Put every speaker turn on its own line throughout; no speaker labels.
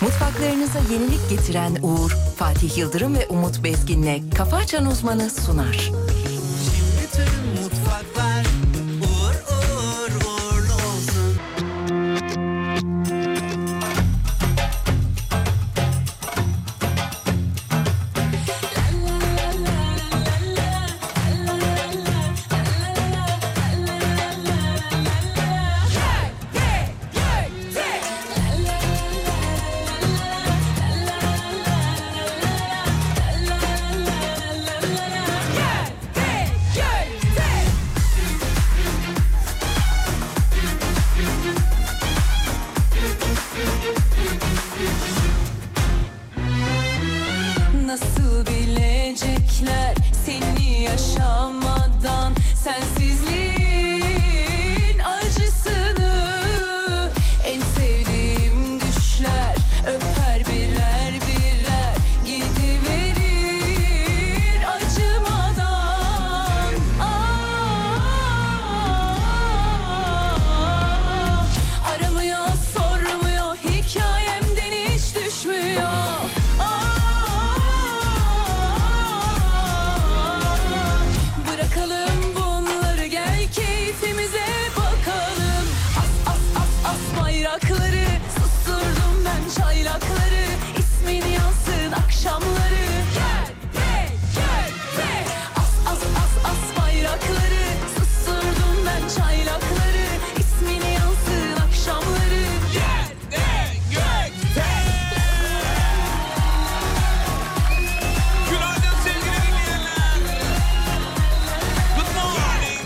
Mutfaklarınıza yenilik getiren Uğur, Fatih Yıldırım ve Umut Bezgin'le Kafa Açan Uzmanı sunar.
Bütün mutfaklar uğur uğur uğurlu olsun.
Nasıl bilecekler seni yaşamadan Sensizliğin acısını En sevdiğim düşler öper birer birer Gidiverir acımadan Ah, Aramıyor sormuyor hikayemden hiç düşmüyor Aa, Bırakalım bunları gel keyfimize bakalım As as as as bayrakları Susturdum ben çaylakları İsmin yansın akşamları Gel gel gel gel As as as as bayrakları Susturdum ben çaylakları İsmin yansın akşamları Gel gel gel
Günaydın sevgili dinleyenler. Good morning.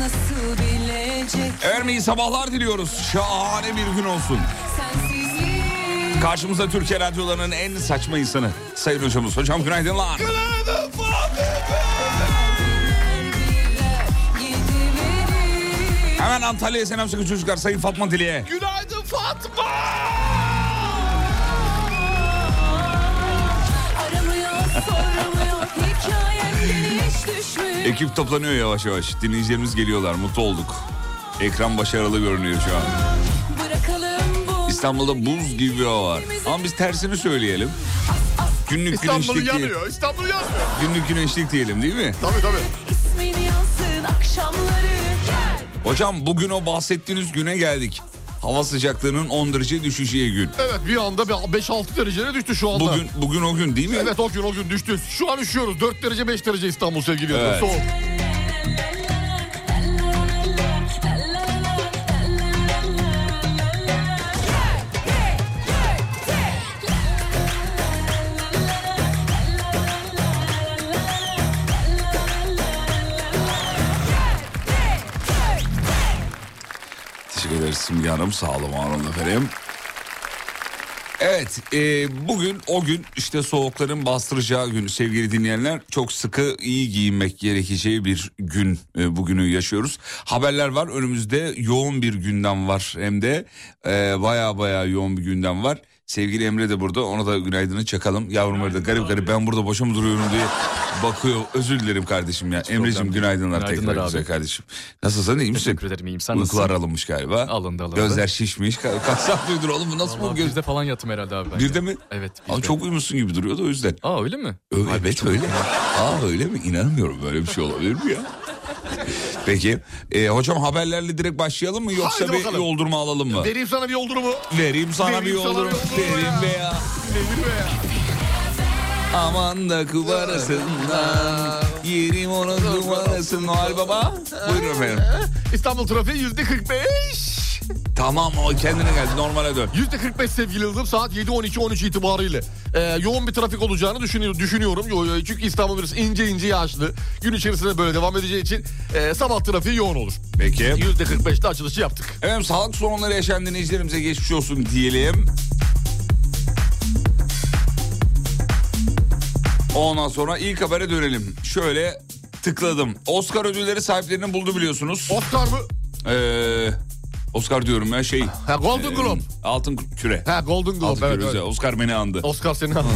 Nasıl bilecek
Efendim iyi sabahlar diliyoruz. Şahane bir gün olsun.
sensizliği
Karşımızda Türkiye radyolarının en saçma insanı Sayın Hocamız. Hocam günaydınlar.
gidiverir
Hemen Antalya'ya selam söyle çocuklar Sayın Fatma Dili'ye.
Günaydın Fatma.
Aramıyor sormuyor hikayemden hiç düşmüyor
Ekip toplanıyor yavaş yavaş. Dinleyicilerimiz geliyorlar. Mutlu olduk. Ekran başarılı görünüyor şu an.
Bırakalım bu
İstanbul'da buz gibi bir hava var. Ama biz tersini söyleyelim. Günlük
İstanbul
güneşlik, diye-
yanıyor. İstanbul yanmıyor.
günlük güneşlik diyelim değil mi?
Tabii tabii.
ismini yansın akşamları Gel
Hocam bugün o bahsettiğiniz güne geldik. Hava sıcaklığının 10 derece düşeceği gün.
Evet bir anda bir 5-6 dereceye düştü şu anda.
Bugün bugün o gün değil mi?
Evet o gün o gün düştü. Şu an üşüyoruz. 4 derece 5 derece İstanbul sevgili
Evet.
evet. Soğuk.
Teşekkür ederiz Simge Hanım. Sağ olun var olun efendim. Evet e, bugün o gün işte soğukların bastıracağı gün sevgili dinleyenler çok sıkı iyi giyinmek gerekeceği bir gün e, bugünü yaşıyoruz. Haberler var önümüzde yoğun bir gündem var hem de e, baya baya yoğun bir gündem var. Sevgili Emre de burada ona da günaydını çakalım. Yavrum öyle de garip garip ben burada boşa mı duruyorum diye bakıyor. Özür dilerim kardeşim ya. Emre'cim
problem.
günaydınlar,
Günaydınlar
tekrar
abi.
güzel kardeşim. Nasılsın iyi misin?
Teşekkür ederim, iyiyim. Sen
Uykular
nasılsın?
alınmış galiba.
Alındı, alındı.
Gözler şişmiş. Ka- Kaç saat uyudun oğlum bu nasıl
Vallahi
bu göz?
Birde falan yattım herhalde abi ben.
Birde
ya.
mi?
Evet.
Ama
birde.
çok uyumuşsun gibi duruyordu o yüzden.
Aa öyle mi?
Ö- evet öyle. Aa öyle mi? İnanamıyorum böyle bir şey olabilir mi ya? Peki. E, hocam haberlerle direkt başlayalım mı yoksa
Haydi
bir
bakalım.
yoldurma alalım mı?
Vereyim sana bir yoldurumu.
Vereyim sana
Vereyim
bir
sana
yoldurum.
bir yoldurum
Vereyim
ya.
be ya.
Nedir be ya?
Aman da kubarasından. Yerim onun numarasını Noel Baba. Buyurun efendim.
İstanbul trafiği yüzde 45.
Tamam o kendine geldi normale dön.
Yüzde 45 sevgili Yıldırım saat 7.12-13 itibariyle. Ee, yoğun bir trafik olacağını düşünüyorum. düşünüyorum. Yo- yo- Çünkü İstanbul biraz ince ince yağışlı. Gün içerisinde böyle devam edeceği için e, sabah trafiği yoğun olur.
Peki.
Yüzde 45'te açılışı yaptık.
Efendim sağlık sorunları yaşayan dinleyicilerimize geçmiş olsun diyelim. Ondan sonra ilk habere dönelim. Şöyle tıkladım. Oscar ödülleri sahiplerini buldu biliyorsunuz.
Oscar mı?
Ee, Oscar diyorum ya şey.
Ha, Golden Globe.
e, Altın küre.
Ha Golden
Altın
Globe evet.
küre.
evet.
Oscar beni andı.
Oscar seni anladı.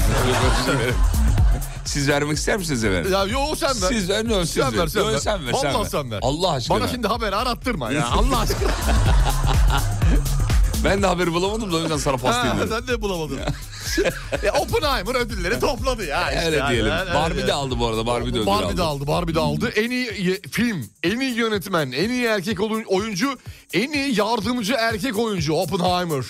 Siz vermek ister misiniz efendim?
Ya yo sen ver.
Siz ver, yok, siz
sen ver.
ver.
Sen
Yok,
ver.
sen ver, sen
Vallahi
ver.
sen ver.
Allah aşkına.
Bana şimdi haber arattırma ya. Allah aşkına.
Ben de haberi bulamadım da o yüzden sana pas
Ha,
diyelim.
sen de bulamadın. ya Oppenheimer ödülleri topladı ya. Işte
Öyle
yani.
diyelim.
Öyle
Barbie de
diyelim.
aldı bu arada. Barbie de ödül
Barbie de
aldı. Hmm.
aldı, Barbie de aldı. En iyi ye- film, en iyi yönetmen, en iyi erkek oyun- oyuncu, en iyi yardımcı erkek oyuncu Oppenheimer.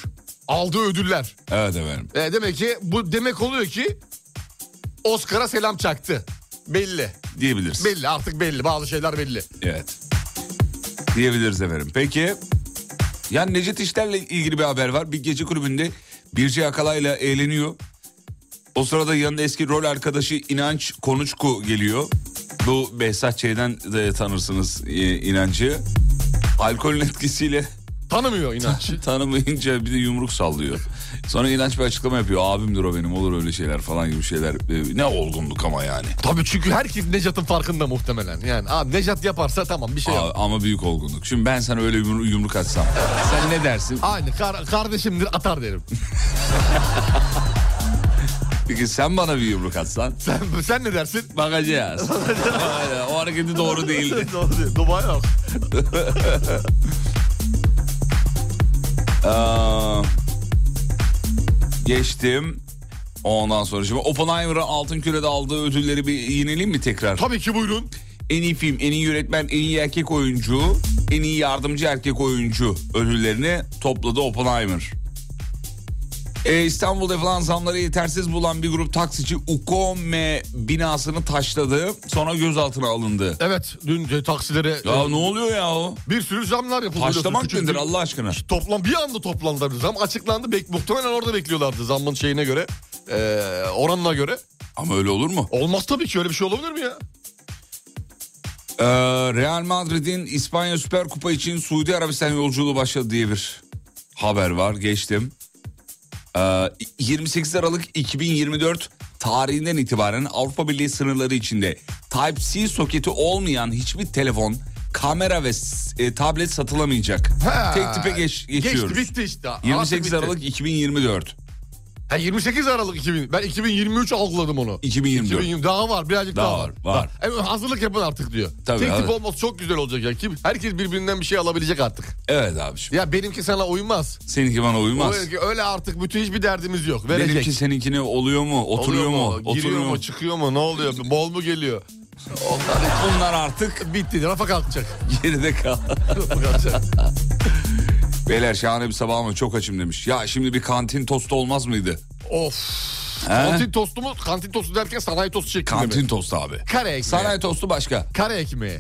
Aldığı ödüller.
Evet efendim.
E, demek ki bu demek oluyor ki Oscar'a selam çaktı. Belli.
Diyebiliriz.
Belli artık belli. Bazı şeyler belli.
Evet. Diyebiliriz efendim. Peki. Ya Necdet İşler'le ilgili bir haber var. Bir gece kulübünde Birce Akalay'la eğleniyor. O sırada yanında eski rol arkadaşı İnanç Konuçku geliyor. Bu Behzat Ç'den de tanırsınız e, İnanç'ı. Alkolün etkisiyle
Tanımıyor inanç.
tanımayınca bir de yumruk sallıyor. Sonra İnanç bir açıklama yapıyor. Abimdir o benim olur öyle şeyler falan gibi şeyler. E, Ne olgunluk ama yani.
Tabii çünkü herkes Necat'ın farkında muhtemelen. Yani abi Necat yaparsa tamam bir şey yap.
Abi, ama büyük olgunluk. Şimdi ben sana öyle yumru- yumruk atsam. Sen ne dersin?
Aynı kar- kardeşimdir atar derim.
Peki sen bana bir yumruk atsan.
Sen, sen ne dersin?
Bakacağız. Aynen, o hareketi doğru değildi.
Doğru değil. Dubai yok.
Aa, geçtim. Ondan sonra şimdi Oppenheimer'ın altın kürede aldığı ödülleri bir yenileyelim mi tekrar?
Tabii ki buyurun.
En iyi film, en iyi yönetmen, en iyi erkek oyuncu, en iyi yardımcı erkek oyuncu ödüllerini topladı Oppenheimer. Ee, İstanbul'da yapılan zamları yetersiz bulan bir grup taksici Ukome binasını taşladı. Sonra gözaltına alındı.
Evet dün e, taksilere
Ya
e,
ne oluyor ya o?
bir sürü zamlar yapıldı.
Taşlamak
Biliyorsun,
nedir
küçük-
Allah aşkına?
Toplam bir anda toplandı bir zam. Açıklandı. Bek, muhtemelen orada bekliyorlardı zammın şeyine göre. e, oranına göre.
Ama öyle olur mu?
Olmaz tabii ki öyle bir şey olabilir mi ya?
Ee, Real Madrid'in İspanya Süper Kupa için Suudi Arabistan yolculuğu başladı diye bir haber var. Geçtim. Ee, 28 Aralık 2024 tarihinden itibaren Avrupa Birliği sınırları içinde Type-C soketi olmayan hiçbir telefon, kamera ve s- e, tablet satılamayacak.
Ha.
Tek tipe geç, geçiyoruz.
Geçti bitti işte. Artık
28
bitti.
Aralık 2024.
Ha, 28 Aralık 2000. Ben 2023 algıladım onu.
2024.
2020 daha var birazcık daha,
Daha
var.
var, var.
Daha- E, hazırlık yapın artık diyor.
Tabii,
Tek tip
hazır-
olması çok güzel olacak ya. Kim, herkes birbirinden bir şey alabilecek artık.
Evet abiciğim.
Ya benimki sana uymaz.
Seninki bana uymaz.
Öyle, öyle artık bütün hiçbir derdimiz yok. Verecek.
Benimki seninkine oluyor mu? Oturuyor
Oluyor
mu?
Giriyor
Oturuyor
mu?
mu?
Çıkıyor mu? Ne oluyor? Bol mu geliyor?
Bunlar artık
Bitti. Rafa kalkacak.
geride kaldı.
Rafa kalkacak.
Beyler şahane bir sabah ama çok açım demiş. Ya şimdi bir kantin tostu olmaz mıydı?
of.
He?
Kantin tostu mu? Kantin tostu derken sanayi tostu şeklinde
Kantin
mi?
tostu abi.
Kare ekmeği.
Sanayi tostu başka.
Kare ekmeği.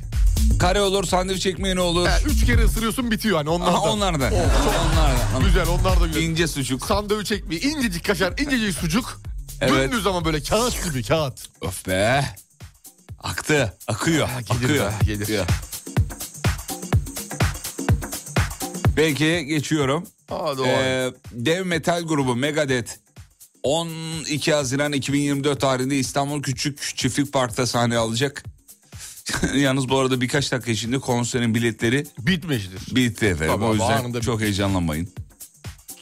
Kare olur, sandviç ekmeği ne olur?
Ha, üç kere ısırıyorsun bitiyor hani onlardan.
Aha, onlardan.
Of, çok
Onlardan.
güzel onlar da güzel.
İnce sucuk.
Sandviç ekmeği. incecik kaşar, incecik sucuk.
Evet.
Dümdüz ama böyle kağıt gibi kağıt.
Öf be. Aktı. Akıyor.
gelir
akıyor.
be, gelir.
akıyor. Peki geçiyorum.
Hadi
Ee, dev metal grubu Megadeth 12 Haziran 2024 tarihinde İstanbul Küçük Çiftlik Park'ta sahne alacak. Yalnız bu arada birkaç dakika içinde konserin biletleri
Bitmiştir.
bitti efendim.
Tabii
o
abi,
yüzden
anında
çok heyecanlanmayın.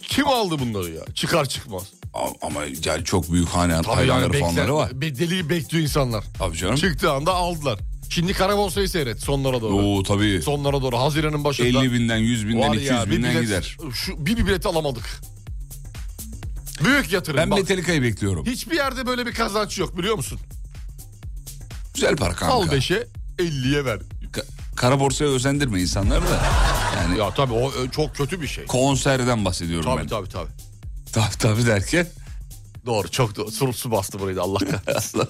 Kim aldı bunları ya? Çıkar çıkmaz.
A- Ama yani çok büyük hane
Tabii yani
hayvanları
bekler,
fanları var.
be- deliği bekliyor insanlar.
Tabii canım.
Çıktığı anda aldılar. Şimdi Karaborsa'yı seyret sonlara doğru.
Oo tabii.
Sonlara doğru Haziran'ın başında.
50 binden, 100 binden,
Var
200
ya, bir
binden
bilet-
gider.
Şu, bir, bir bilet alamadık. Büyük yatırım
Ben
bak.
Metallica'yı bekliyorum.
Hiçbir yerde böyle bir kazanç yok biliyor musun?
Güzel para kanka.
Al 5'e 50'ye ver.
Ka- kara borsaya özendirme insanları da. Yani
Ya tabii o e, çok kötü bir şey.
konserden bahsediyorum
Tabii
ben.
tabii tabii.
Tabii tabii derken.
Doğru çok doğru. Sur, su bastı burayı da Allah kahretsin.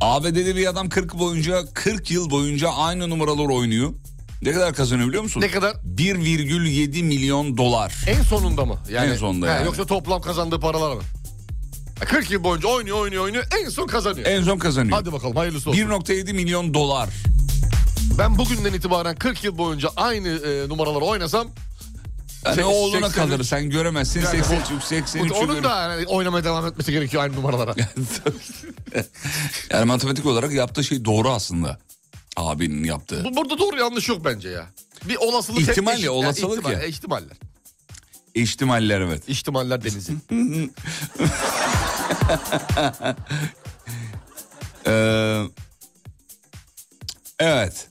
ABD'de bir adam 40 boyunca 40 yıl boyunca aynı numaraları oynuyor. Ne kadar kazanıyor biliyor musun?
ne kadar?
1,7 milyon dolar.
En sonunda mı?
En sonunda
He,
yani.
Yoksa toplam kazandığı paralar mı? Ya 40 yıl boyunca oynuyor oynuyor oynuyor en son kazanıyor.
En son kazanıyor.
Hadi bakalım hayırlısı olsun.
1,7 milyon dolar.
Ben bugünden itibaren 40 yıl boyunca aynı e, numaraları oynasam
Yani
Se-
oğluna
83
kalır sen göremezsin.
Yani
83, 83
onun da yani oynamaya devam etmesi gerekiyor aynı numaralara.
yani matematik olarak yaptığı şey doğru aslında. Abinin yaptığı.
Bu, burada doğru yanlış yok bence ya. Bir olasılık.
İhtimalle,
eşit- yani
olasılık ya.
e, ihtimaller.
İhtimaller evet.
İhtimaller denizi.
Ee, evet.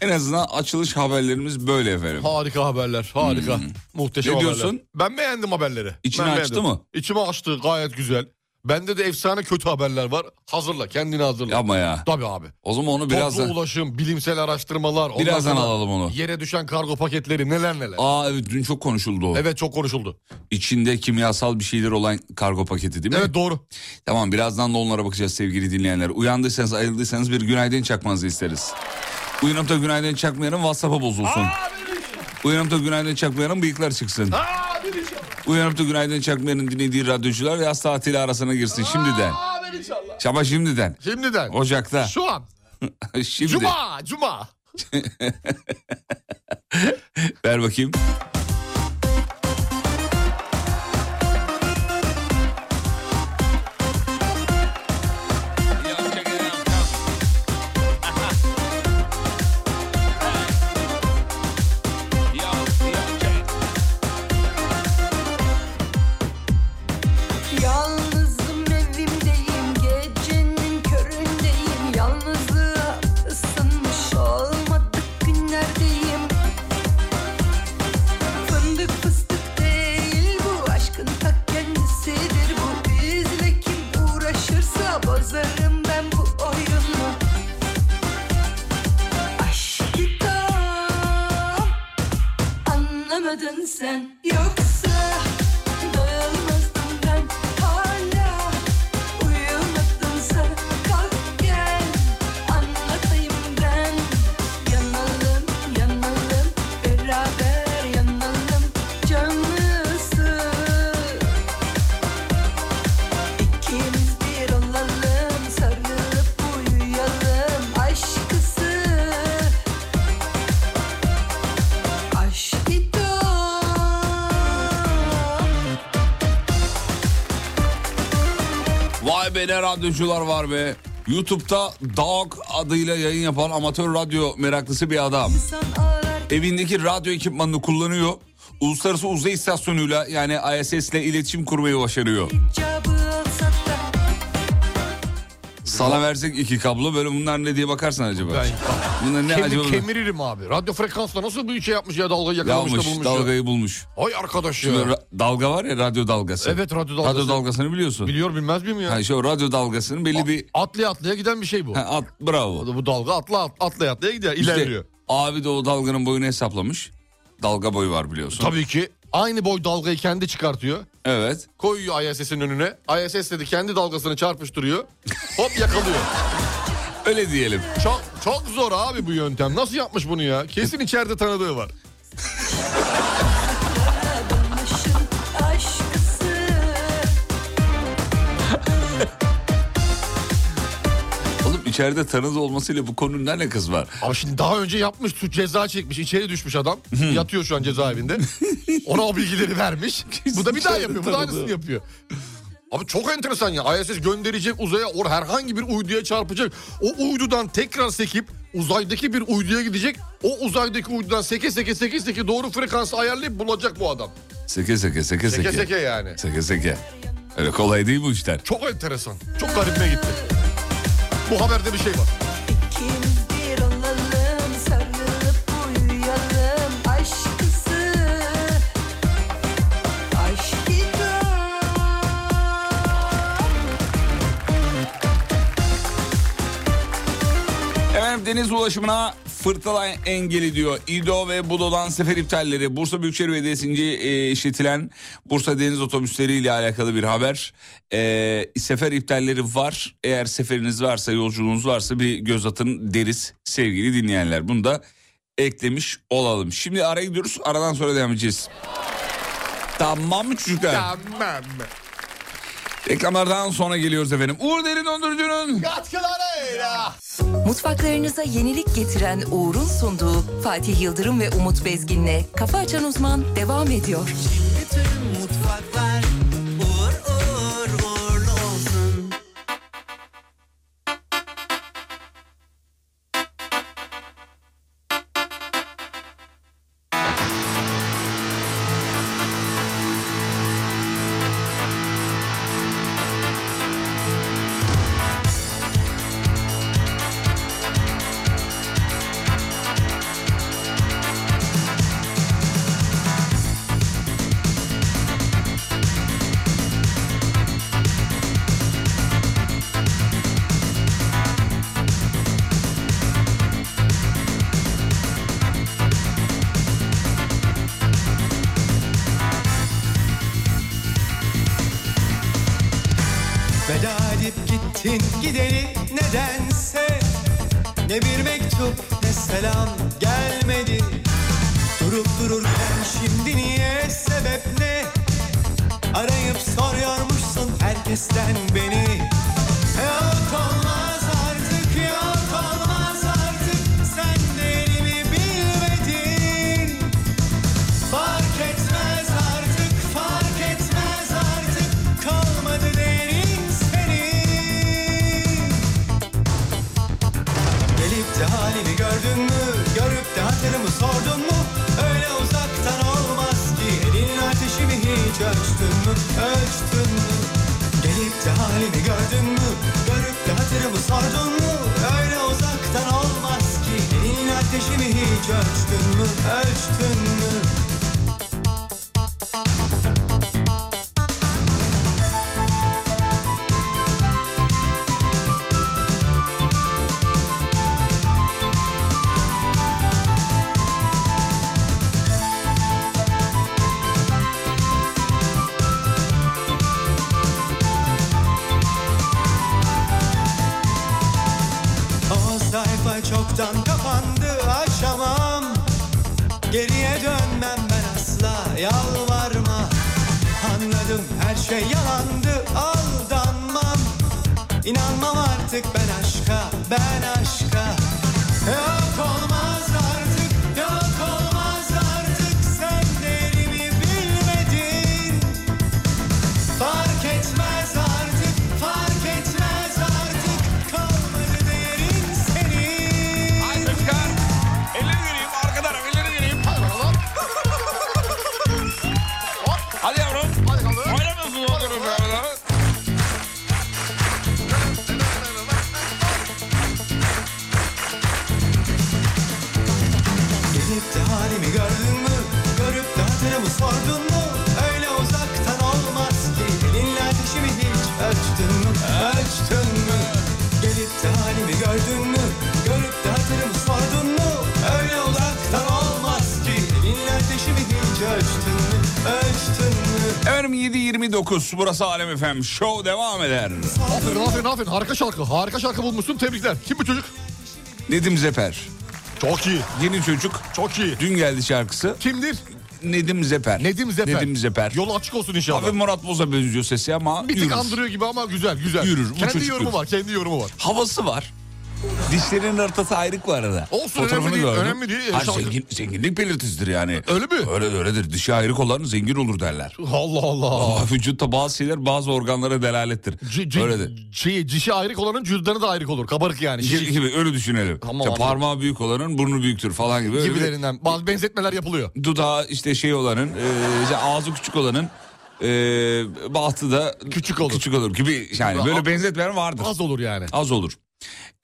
En azından açılış haberlerimiz böyle efendim.
Harika haberler. Harika. Muhteşem
Hmm. Ne
haberler.
diyorsun?
Ben beğendim haberleri.
İçini
Ben
açtı
beğendim.
mı?
İçimi açtı. Gayet güzel. Bende de efsane kötü haberler var. Hazırla. Kendini hazırla.
Yapma ya.
Tabii abi.
O zaman onu
Birazdan.
birazdan
Toplu ulaşım, bilimsel araştırmalar. ondan
birazdan
sonra
alalım onu.
Yere düşen kargo paketleri neler neler.
Aa evet dün çok konuşuldu o.
Evet çok konuşuldu.
İçinde kimyasal bir şeyler olan kargo paketi değil mi?
Evet doğru.
Tamam birazdan da onlara bakacağız sevgili dinleyenler. Uyandıysanız ayrıldıysanız bir günaydın çakmanızı isteriz. Uyanıp da günaydın çakmayanın WhatsApp'a bozulsun. Uyanıp da günaydın çakmayanın bıyıklar çıksın. Uyanıp da günaydın çakmayanın dinlediği radyocular yaz tatili arasına girsin şimdiden. Şama şimdiden.
Şimdiden.
Ocak'ta.
Şu an.
Şimdi.
Cuma. Cuma.
Ver bakayım.
Yalnızım evimdeyim gecenin köründeyim Yalnızlığa ısınmış olmadık günlerdeyim Fındık fıstık değil bu aşkın ta kendisidir bu Bizle kim uğraşırsa bozarım ben bu oyunu Aşk kitap anlamadın sen Yoksa dayanamazdım ben hala Uyumadın sen kalk gel anlatayım ben Yanalım yanalım beraber yanalım canlısı İkimiz bir olalım sarılıp uyuyalım aşkısı Aşk kitap
Vay be ne radyocular var be. YouTube'da Dog adıyla yayın yapan amatör radyo meraklısı bir adam.
insan ağlar
evindeki radyo ekipmanını kullanıyor. Uluslararası uzay istasyonuyla yani ISS ile iletişim kurmayı başarıyor.
icabı alsa da
Sana versek iki kablo böyle bunlar ne diye bakarsan acaba?
Ben
Bunlar ne acaba?
Kemir, kemiririm abi. Radyo frekansla nasıl bir şey yapmış ya dalgayı yakalamış
Yalmış,
da bulmuş ya.
dalgayı bulmuş.
Ay arkadaş ya.
Şimdi ra- dalga var ya radyo dalgası.
Evet radyo dalgası.
Radyo dalgasını biliyorsun.
Biliyor bilmez miyim ya?
Ha, işte o radyo dalgasının belli bir...
Atlaya atlaya giden bir şey bu.
Ha, at, bravo.
Bu dalga atla at- atlaya atlaya gider
İşte
ilerliyor.
abi de o dalganın boyunu hesaplamış. Dalga boyu var biliyorsun.
Tabii ki aynı boy dalgayı kendi çıkartıyor.
Evet.
Koyuyor ISS'in önüne. ISS dedi kendi dalgasını çarpıştırıyor. Hop yakalıyor.
Öyle diyelim.
Çok çok zor abi bu yöntem. Nasıl yapmış bunu ya? Kesin içeride tanıdığı var.
dönmüşüm aşkısı
Oğlum içeride tanıdığı olmasıyla bu konunun ne alakası var?
Abi şimdi daha önce yapmış suç ceza çekmiş. içeri düşmüş adam. Yatıyor şu an cezaevinde. Ona o bilgileri vermiş. bu da bir daha yapıyor. Bu da aynısını yapıyor. Abi çok enteresan ya. ISS gönderecek uzaya or herhangi bir uyduya çarpacak. O uydudan tekrar sekip uzaydaki bir uyduya gidecek. O uzaydaki uydudan seke seke seke seke doğru frekansı ayarlayıp bulacak bu adam.
Seke seke seke
Seke seke yani.
Seke seke. Öyle kolay değil bu işler.
Çok enteresan. Çok garibime gitti. Bu haberde bir şey var.
ikimiz bir olalım sarılıp uyuyalım aşkısı Aşk kitap
Efendim deniz ulaşımına fırtına engeli diyor. İdo ve Budo'dan sefer iptalleri. Bursa Büyükşehir Belediyesi'nce e, işletilen Bursa Deniz Otobüsleri ile alakalı bir haber. E, sefer iptalleri var. Eğer seferiniz varsa, yolculuğunuz varsa bir göz atın deriz sevgili dinleyenler. Bunu da eklemiş olalım. Şimdi araya gidiyoruz. Aradan sonra devam edeceğiz. Tamam mı çocuklar?
Tamam.
Reklamlardan sonra geliyoruz efendim. Uğur Derin Dondurucu'nun...
Katkılarıyla.
Mutfaklarınıza yenilik getiren Uğur'un sunduğu Fatih Yıldırım ve Umut Bezgin'le Kafa Açan Uzman devam ediyor.
Bütün mutfaklar uğur uğur uğurlu olsun. gelin gideni nedense Ne bir mektup ne selam gelmedi Durup dururken şimdi niye sebep ne Arayıp soruyormuşsun herkesten beni Yok olmaz artık yok olmaz artık Sen değerimi bilmedin Fark etmez artık, fark etmez artık Kalmadı derin senin Gelip de halimi gördün mü? Görüp de hatırımı sordun mu? Öyle uzaktan olmaz ki Elin ateşimi hiç ölçtün mü? Ölçtün mü? Gelip de halimi gördün mü? Görüp de hatırımı sordun mu? Öyle uzaktan olmaz ki Elin ateşimi hiç ölçtün mü? Ölçtün mü? O sayfa çoktan kapandı aşamam Geriye dönmem ben asla yalvarma Anladım her şey yalandı aldanmam İnanmam artık ben aşka ben aşka Yok olmaz artık yok olmaz artık Sen değerimi bilmedin Fark etmez artık, fark etmez artık Kalmadı değerin senin
Haydi çıkar. Elleri vereyim. Arkadan elleri vereyim.
Hadi bakalım.
Hadi yavrum.
Hadi bakalım.
Oynamıyorsunuz oğlum ya.
Gelip de halimi gördün mü? Görüp de hatırımı sordun mu? Öyle uzaktan olmaz ki Elinle ateşimi hiç ölçtün mü? Ölçtün mü? Gelip de halimi gördün mü? Görüp de hatırımı sordun mu? Öyle uzaktan olmaz ki Elinle ateşimi hiç ölçtün mü? Ölçtün mü?
Efendim 7.29 burası Alem Efem. Show devam eder.
Aferin aferin aferin. Harika şarkı. Harika şarkı bulmuşsun. Tebrikler. Kim bu çocuk?
Nedim Zeper.
Çok iyi.
Yeni çocuk.
Çok iyi.
Dün geldi şarkısı.
Kimdir?
Nedim Zeper.
Nedim Zeper.
Nedim Zeper.
Yolu açık olsun inşallah.
Abi Murat Boz'a benziyor sesi ama
bir tık
yürür.
andırıyor gibi ama güzel güzel.
Yürür, bu
kendi
çocuk
yorumu
yürür.
var. Kendi yorumu var.
Havası var. Dişlerinin ortası ayrık var arada.
Olsun, önemli değil, önemli değil.
Ha,
Şarkı-
zengin- zenginlik belirtisidir yani.
Öyle mi?
Öyle öyledir. Dişi ayrık olan zengin olur derler.
Allah Allah.
Aa, vücutta bazı şeyler bazı organlara delalettir.
C- c-
Öyledir.
şey, cişi ayrık olanın cüzdanı da ayrık olur. Kabarık yani. Şişi-
Gibi, gibi, öyle düşünelim.
Tamam,
İşte
anladım.
parmağı büyük olanın burnu büyüktür falan gibi. Öyle bir-
gibilerinden. Bazı benzetmeler yapılıyor.
dudağı işte şey olanın e, işte ağzı küçük olanın e, bahtı da
Küçük olur.
küçük olur gibi yani böyle benzetmeler vardır. Az,
Az olur yani.
olur.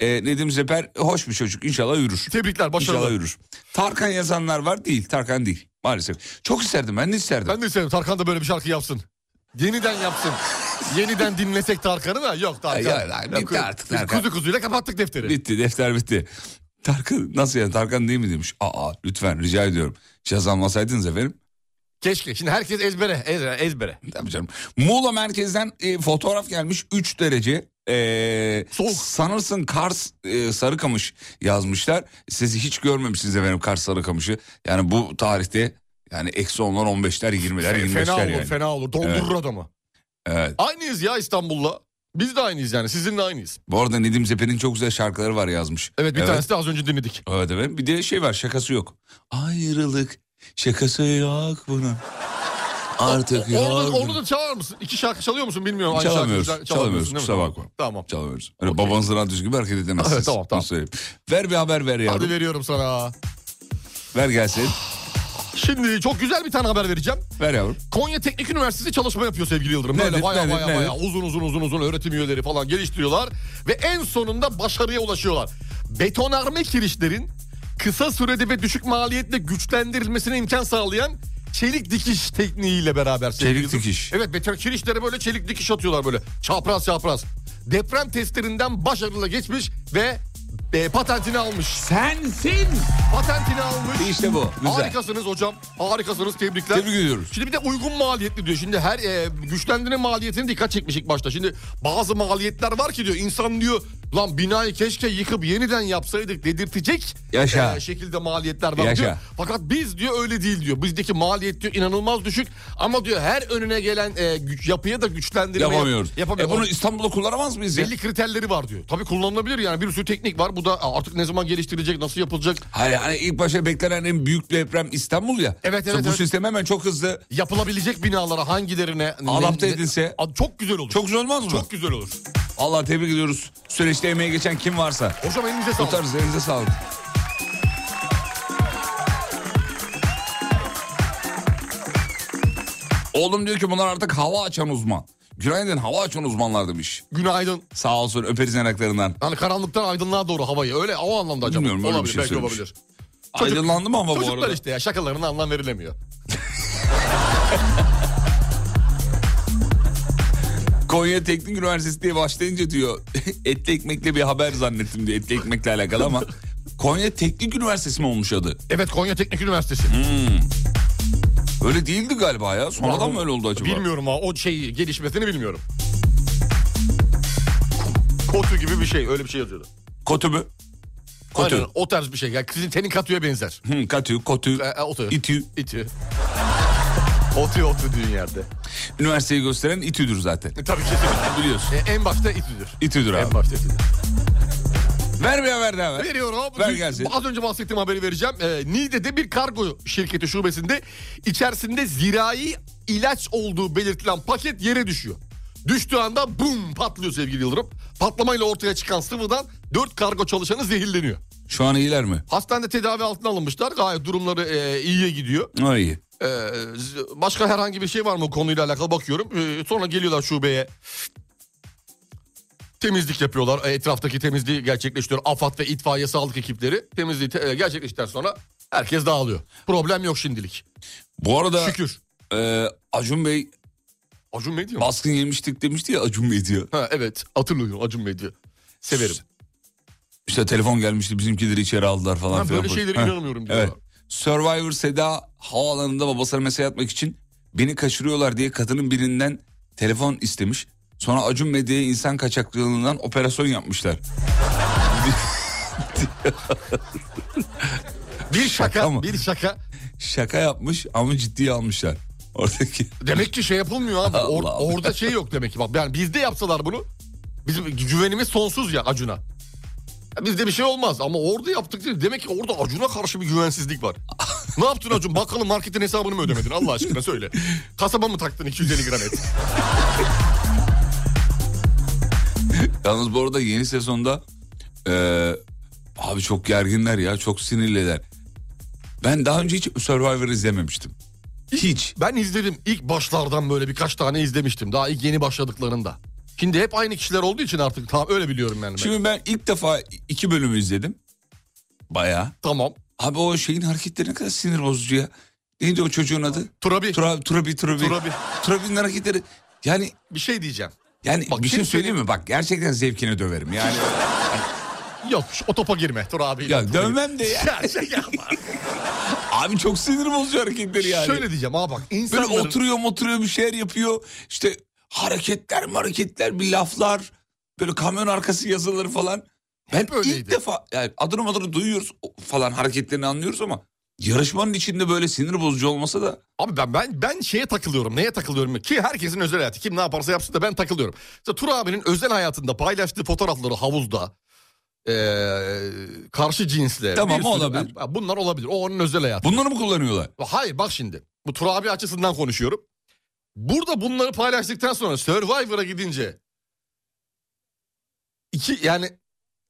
E, Nedim Zeper hoş bir çocuk inşallah yürür.
Tebrikler
İnşallah
başarılı.
yürür. Tarkan yazanlar var değil Tarkan değil maalesef. Çok isterdim ben de isterdim.
Ben de isterim Tarkan da böyle bir şarkı yapsın. Yeniden yapsın. Yeniden dinlesek Tarkan'ı da yok Tarkan.
Ya, ya, bitti
Yok,
artık
biz
Tarkan.
Kuzu kuzuyla kapattık defteri.
Bitti defter bitti. Tarkan nasıl yani Tarkan değil mi demiş. Aa lütfen rica ediyorum. Yazanmasaydınız efendim.
Keşke. Şimdi herkes ezbere, ezbere, ezbere.
Tabii canım. Muğla merkezden e, fotoğraf gelmiş 3 derece. E,
Soğuk.
Sanırsın Kars e, Sarıkamış yazmışlar. Sizi hiç görmemişsiniz efendim Kars Sarıkamış'ı. Yani bu tarihte yani eksi 10'lar 15'ler 20'ler 25'ler
E, fena olur,
yani.
fena olur. Dondurur
Evet.
adamı.
Evet.
Aynıyız ya İstanbul'la. Biz de aynıyız yani. Sizinle aynıyız.
Bu arada Nedim Zeper'in çok güzel şarkıları var yazmış.
Evet bir
evet.
tanesi de az önce dinledik.
Evet efendim. Bir de şey var şakası yok. Ayrılık şakası yok bunun. Artık yok.
Onu, da- onu da çalar mısın? İki şarkı çalıyor musun bilmiyorum. Aynı
Çalamıyoruz,
şarkıyı çal-
çalamıyoruz,
çalamıyorsun değil mi?
kusura bakma.
Tamam.
Çalamıyoruz. Öyle babanızın radyosu gibi hareket edemezsiniz.
Evet, tamam, tamam.
Bunu söyleyeyim. Ver bir haber ver yavrum.
Hadi veriyorum sana.
Ver gelsin.
Şimdi çok güzel bir tane haber vereceğim.
Ver yavrum.
Konya Teknik Üniversitesi çalışma yapıyor sevgili Yıldırım.
Nedir,
Böyle baya
nedir,
baya
nedir?
baya uzun uzun uzun uzun öğretim üyeleri falan geliştiriyorlar. Ve en sonunda başarıya ulaşıyorlar. Betonarme kirişlerin kısa sürede ve düşük maliyetle güçlendirilmesine imkan sağlayan çelik dikiş tekniğiyle beraber. sevgili
Çelik
Yıldırım.
dikiş.
Evet beton kirişlere böyle çelik dikiş atıyorlar böyle çapraz çapraz. Deprem testlerinden başarıyla geçmiş ve e, patentini almış.
Sensin.
Patentini almış.
İşte bu. Güzel.
Harikasınız hocam. Harikasınız. Tebrikler.
Tebrik ediyoruz.
Şimdi bir de uygun maliyetli diyor. Şimdi her e, güçlendirme maliyetine dikkat çekmiş ilk başta. Şimdi bazı maliyetler var ki diyor insan diyor lan binayı keşke yıkıp yeniden yapsaydık dedirtecek
Yaşa.
e, şekilde maliyetler var
Yaşa.
diyor. Fakat biz diyor öyle değil diyor. Bizdeki maliyet diyor inanılmaz düşük ama diyor her önüne gelen e, güç, yapıya da güçlendirme yap-
Yapamıyoruz.
yapamıyor.
E bunu İstanbul'da kullanamaz mıyız ya?
Belli kriterleri var diyor. Tabii kullanılabilir yani bir sürü teknik var. Bu da artık ne zaman geliştirilecek, nasıl yapılacak?
Hayır hani ilk başta beklenen en büyük deprem İstanbul ya.
Evet,
Mesela
evet,
Bu
evet.
sistem hemen çok hızlı
Yapılabilecek binalara hangilerine ne-
adapte edilse.
Aa, Çok güzel olur.
Çok güzel olmaz mı?
çok güzel olur.
Allah tebrik ediyoruz. Süreçte emeği geçen kim varsa.
Hocam elinize sağlık.
Tutarız elinize sağlık. Oğlum diyor ki bunlar artık hava açan uzman. Günaydın hava açan uzmanlar demiş.
Günaydın.
Sağ olsun öperiz yanaklarından.
Yani karanlıktan aydınlığa doğru havayı. Öyle o anlamda acaba.
Bilmiyorum, öyle bir şey
belki
söylemiş.
olabilir. Çocuk-
Aydınlandı mı ama bu
Çocuklar
arada?
işte ya şakalarına anlam verilemiyor.
Konya Teknik Üniversitesi diye başlayınca diyor etli ekmekle bir haber zannettim diyor etli ekmekle alakalı ama Konya Teknik Üniversitesi mi olmuş adı?
Evet Konya Teknik Üniversitesi.
Öyle değildi galiba ya sonradan mı öyle oldu acaba?
Bilmiyorum ha o şeyi gelişmesini bilmiyorum. Kotu gibi bir şey öyle bir şey yazıyordu.
Kotü mü? Kotü.
Aynen, o tarz bir şey. Yani sizin tenin katüye benzer.
Hı, katü, kotü,
E, e, otu.
itü.
İti. Otu otu düğün yerde.
Üniversiteyi gösteren itüdür zaten.
E, tabii kesinlikle.
Biliyorsun.
E, en başta itüdür.
İtüdür
En
abi.
başta itüdür.
Ver bir haber daha ver.
Veriyorum.
Ver
Dün-
gelsin.
Az önce bahsettiğim haberi vereceğim. Ee, Niğde'de bir kargo şirketi şubesinde içerisinde zirai ilaç olduğu belirtilen paket yere düşüyor. Düştüğü anda bum patlıyor sevgili Yıldırım. Patlamayla ortaya çıkan sıvıdan 4 kargo çalışanı zehirleniyor.
Şu an iyiler mi?
Hastanede tedavi altına alınmışlar. Gayet durumları e, iyiye gidiyor.
O iyi.
Ee, z- başka herhangi bir şey var mı bu konuyla alakalı bakıyorum. Ee, sonra geliyorlar şubeye. Temizlik yapıyorlar. Ee, Etraftaki temizliği gerçekleştiriyor. AFAD ve itfaiye sağlık ekipleri temizliği te- e, gerçekleştikten sonra herkes dağılıyor. Problem yok şimdilik.
Bu arada
Şükür.
e, Acun Bey
Acun Bey diyor mu?
baskın yemiştik demişti ya Acun Bey diyor.
Ha, evet hatırlıyorum Acun Bey diyor. Severim.
İşte telefon gelmişti bizimkileri içeri aldılar falan
Ben
filan.
böyle şeylere
Heh.
inanamıyorum diyorlar.
Evet. Survivor Seda havaalanında babasına mesaj atmak için beni kaçırıyorlar diye kadının birinden telefon istemiş. Sonra Acun Medya'ya insan kaçaklığından operasyon yapmışlar.
Bir şaka,
mı?
bir şaka.
Şaka yapmış ama ciddiye almışlar. Oradaki
Demek ki şey yapılmıyor abi. Or-
Allah Allah.
orada şey yok demek ki. Bak yani bizde yapsalar bunu bizim güvenimiz sonsuz ya Acun'a. Ya Bizde bir şey olmaz ama orada yaptık değil. Demek ki orada Acun'a karşı bir güvensizlik var. ne yaptın Acun? Bakkalın marketin hesabını mı ödemedin? Allah aşkına söyle. Kasaba mı taktın 250 gram et?
Yalnız bu arada yeni sezonda eee, abi çok gerginler ya çok sinirliler. Ben daha önce hiç Survivor izlememiştim. Hiç.
Ben izledim. İlk başlardan böyle birkaç tane izlemiştim. Daha ilk yeni başladıklarında. Şimdi hep aynı kişiler olduğu için artık tamam öyle biliyorum yani ben.
Şimdi ben ilk defa iki bölümü izledim. Bayağı.
Tamam.
Abi o şeyin hareketleri ne kadar sinir bozucu ya. Neydi o çocuğun adı?
Turabi
Turabi, Turabi, Turabi.
Turabi.
Turabi'nin hareketleri. Yani
bir şey diyeceğim.
yani
Bak,
bir şey
şimdi
söyleyeyim mi? Bak gerçekten zevkine döverim. Yani
Yok şu- o topa girme Turabi.
ya dövmem de ya.
Ya şey yapma.
Abi çok sinir bozucu hareketleri yani.
Şöyle diyeceğim ha bak
Böyle
insanların...
oturuyor oturuyor bir şeyler yapıyor. İşte hareketler hareketler bir laflar. Böyle kamyon arkası yazıları falan. Ben
Hep
ilk
öyleydi.
defa yani adını adını duyuyoruz falan hareketlerini anlıyoruz ama yarışmanın içinde böyle sinir bozucu olmasa da
Abi ben ben ben şeye takılıyorum. Neye takılıyorum ki herkesin özel hayatı. Kim ne yaparsa yapsın da ben takılıyorum. Mesela Tur abinin özel hayatında paylaştığı fotoğrafları havuzda ee, karşı cinsle.
Tamam,
bir sürü-
olabilir.
Ha, Bunlar olabilir. O onun özel hayatı.
bunları mı kullanıyorlar?
Hayır bak şimdi. Bu Tur abi açısından konuşuyorum. Burada bunları paylaştıktan sonra Survivor'a gidince iki yani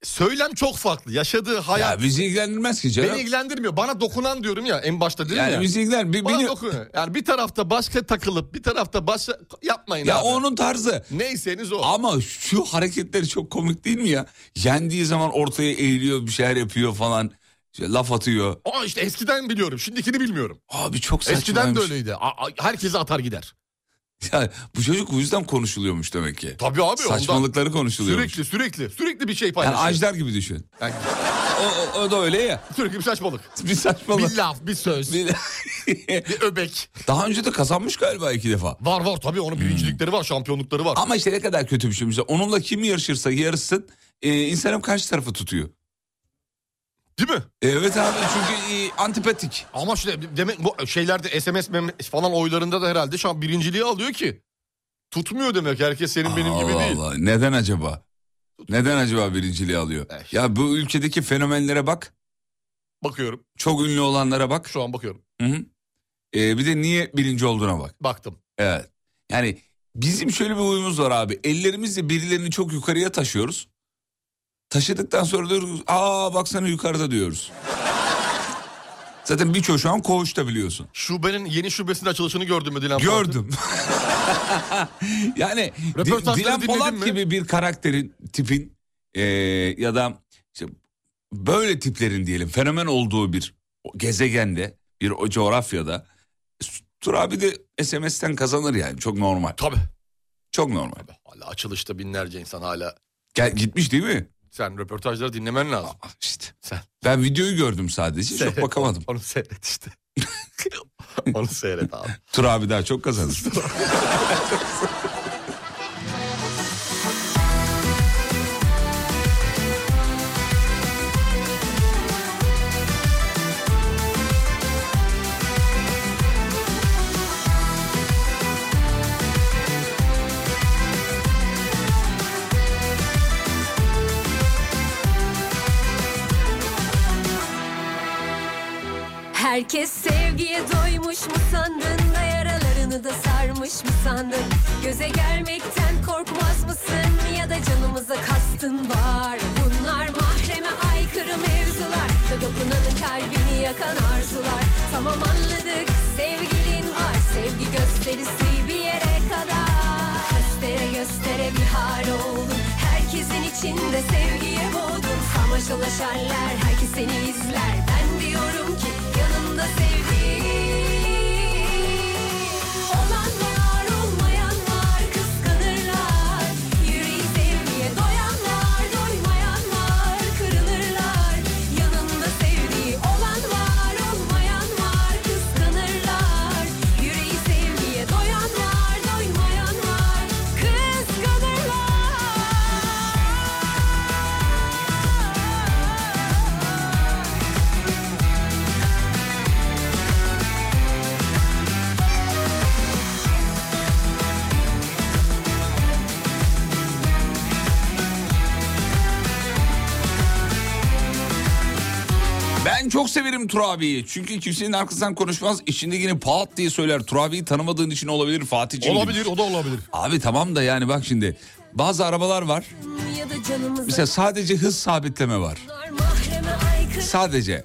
söylem çok farklı. Yaşadığı hayat
Ya bizi ilgilendirmez ki canım.
beni ilgilendirmiyor. Bana dokunan diyorum ya en başta dedim
yani
ya.
bizi ilgilendirmez. Bir-
Bana
beni-
dokunuyor. Yani bir tarafta başka takılıp bir tarafta başka yapmayın
ya
abi.
onun tarzı.
Neyseniz o.
Ama şu hareketleri çok komik değil mi ya? Yendiği zaman ortaya eğiliyor bir şeyler yapıyor falan. İşte laf atıyor.
Aa işte eskiden biliyorum. Şimdikini bilmiyorum.
Abi çok saçmaymış.
Eskiden de öyleydi. A- a- herkese atar gider.
Ya bu çocuk bu yüzden konuşuluyormuş demek ki.
Tabii abi ondan
Saçmalıkları konuşuluyormuş.
Sürekli sürekli sürekli bir şey
Yani
paylaşıyor.
Ajdar gibi düşün.
Yani
O, o, o da öyle ya.
sürekli bir saçmalık.
Bir saçmalık.
Bir laf, bir söz, bir,
Bir-
öbek.
Daha önce de kazanmış galiba iki defa.
Var var tabii onun birincilikleri var, şampiyonlukları var.
Ama işte ne kadar kötü bir şey. Mesela onunla kim yarışırsa yarışsın e, insan hep karşı tarafı tutuyor.
Değil mi?
Evet abi çünkü e, antipatik.
Ama işte demek bu şeylerde SMS mem- falan oylarında da herhalde şu an birinciliği alıyor ki. Tutmuyor demek herkes senin benim gibi
Allah
değil.
Allah. Neden acaba? Neden acaba birinciliği alıyor?
Eh işte.
Ya bu ülkedeki fenomenlere bak.
Bakıyorum
Çok ünlü olanlara bak.
şu an bakıyorum.
Hı hı. E, bir de niye birinci olduğuna bak.
Baktım.
Evet. Yani bizim şöyle bir huyumuz var abi. Ellerimizle birilerini çok yukarıya taşıyoruz. Taşıdıktan sonra diyoruz aa baksana yukarıda diyoruz. Zaten birçoğu şu an koğuşta biliyorsun.
Şubenin yeni şubesinin açılışını gördün mü Dilan Polat?
Gördüm. yani Di-
Röportajları
Dilan
dinledin
Polat
mi?
gibi bir karakterin tipin eee, ya da işte böyle tiplerin diyelim fenomen olduğu bir o gezegende bir o coğrafyada Tur abi de SMS'ten kazanır yani çok normal.
Tabii.
Çok normal.
Tabii. Hala açılışta binlerce insan hala.
Gel gitmiş değil mi?
Sen röportajları dinlemen lazım.
Aa, İşte.
Sen-
Ben videoyu gördüm sadece. Çok bakamadım.
Onu seyret işte. Onu seyret abi.
Tur abi daha çok kazanır.
Herkes sevgiye doymuş mu sandın da yaralarını da sarmış mı sandın Göze gelmekten korkmaz mısın ya da canımıza kastın var Bunlar mahreme aykırı mevzular da dokunanın kalbini yakan arzular Tamam anladık sevgilin var sevgi gösterisi bir yere kadar Göstere göstere bir hal oldun herkesin içinde sevgiye boğdun Samaşalaşarlar herkes seni izler ben diyorum ki yanımda sevdiğim Olanlar olmayanlar kıskanırlar Yüreği sevgiye doyanlar doymayanlar kırılırlar Yanında sevdiği olan var olmayanlar kıskanırlar Yüreği sevgiye doyanlar doymayanlar kıskanırlar
Ben çok severim Tur abiyi. Çünkü kimsenin arkasından konuşmaz. İçindekini pat diye söyler. Tur abiyi tanımadığın için olabilir Fatih'ciğim.
Olabilir o da olabilir.
Abi tamam da yani bak şimdi. Bazı arabalar var.
ya da canımıza
Mesela sadece hız sabitleme var.
Bunlar mahreme aykırı
Sadece.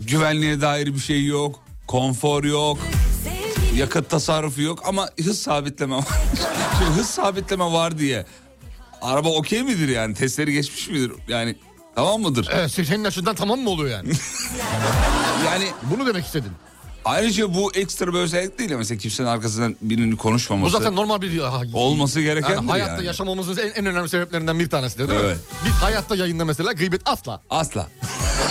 Güvenliğe dair bir şey yok. Konfor yok.
sevgili
Yakıt tasarrufu yok ama hız sabitleme var. Şimdi hız sabitleme var diye. Araba okey midir yani? Testleri geçmiş midir? Yani tamam mıdır?
Evet senin açından tamam mı oluyor yani?
Yani
Bunu demek istedin.
ayrıca bu ekstra bir özellik değil ya. Mesela kimsenin arkasından birinin
Bu
konuşmaması.
zaten normal bir... Ah,
Olması gereken
yani hayatta yaşamamızın en, en önemli sebeplerinden bir tanesi de değil mi?
Evet.
Biz hayatta yayında mesela gıybet asla.
Asla.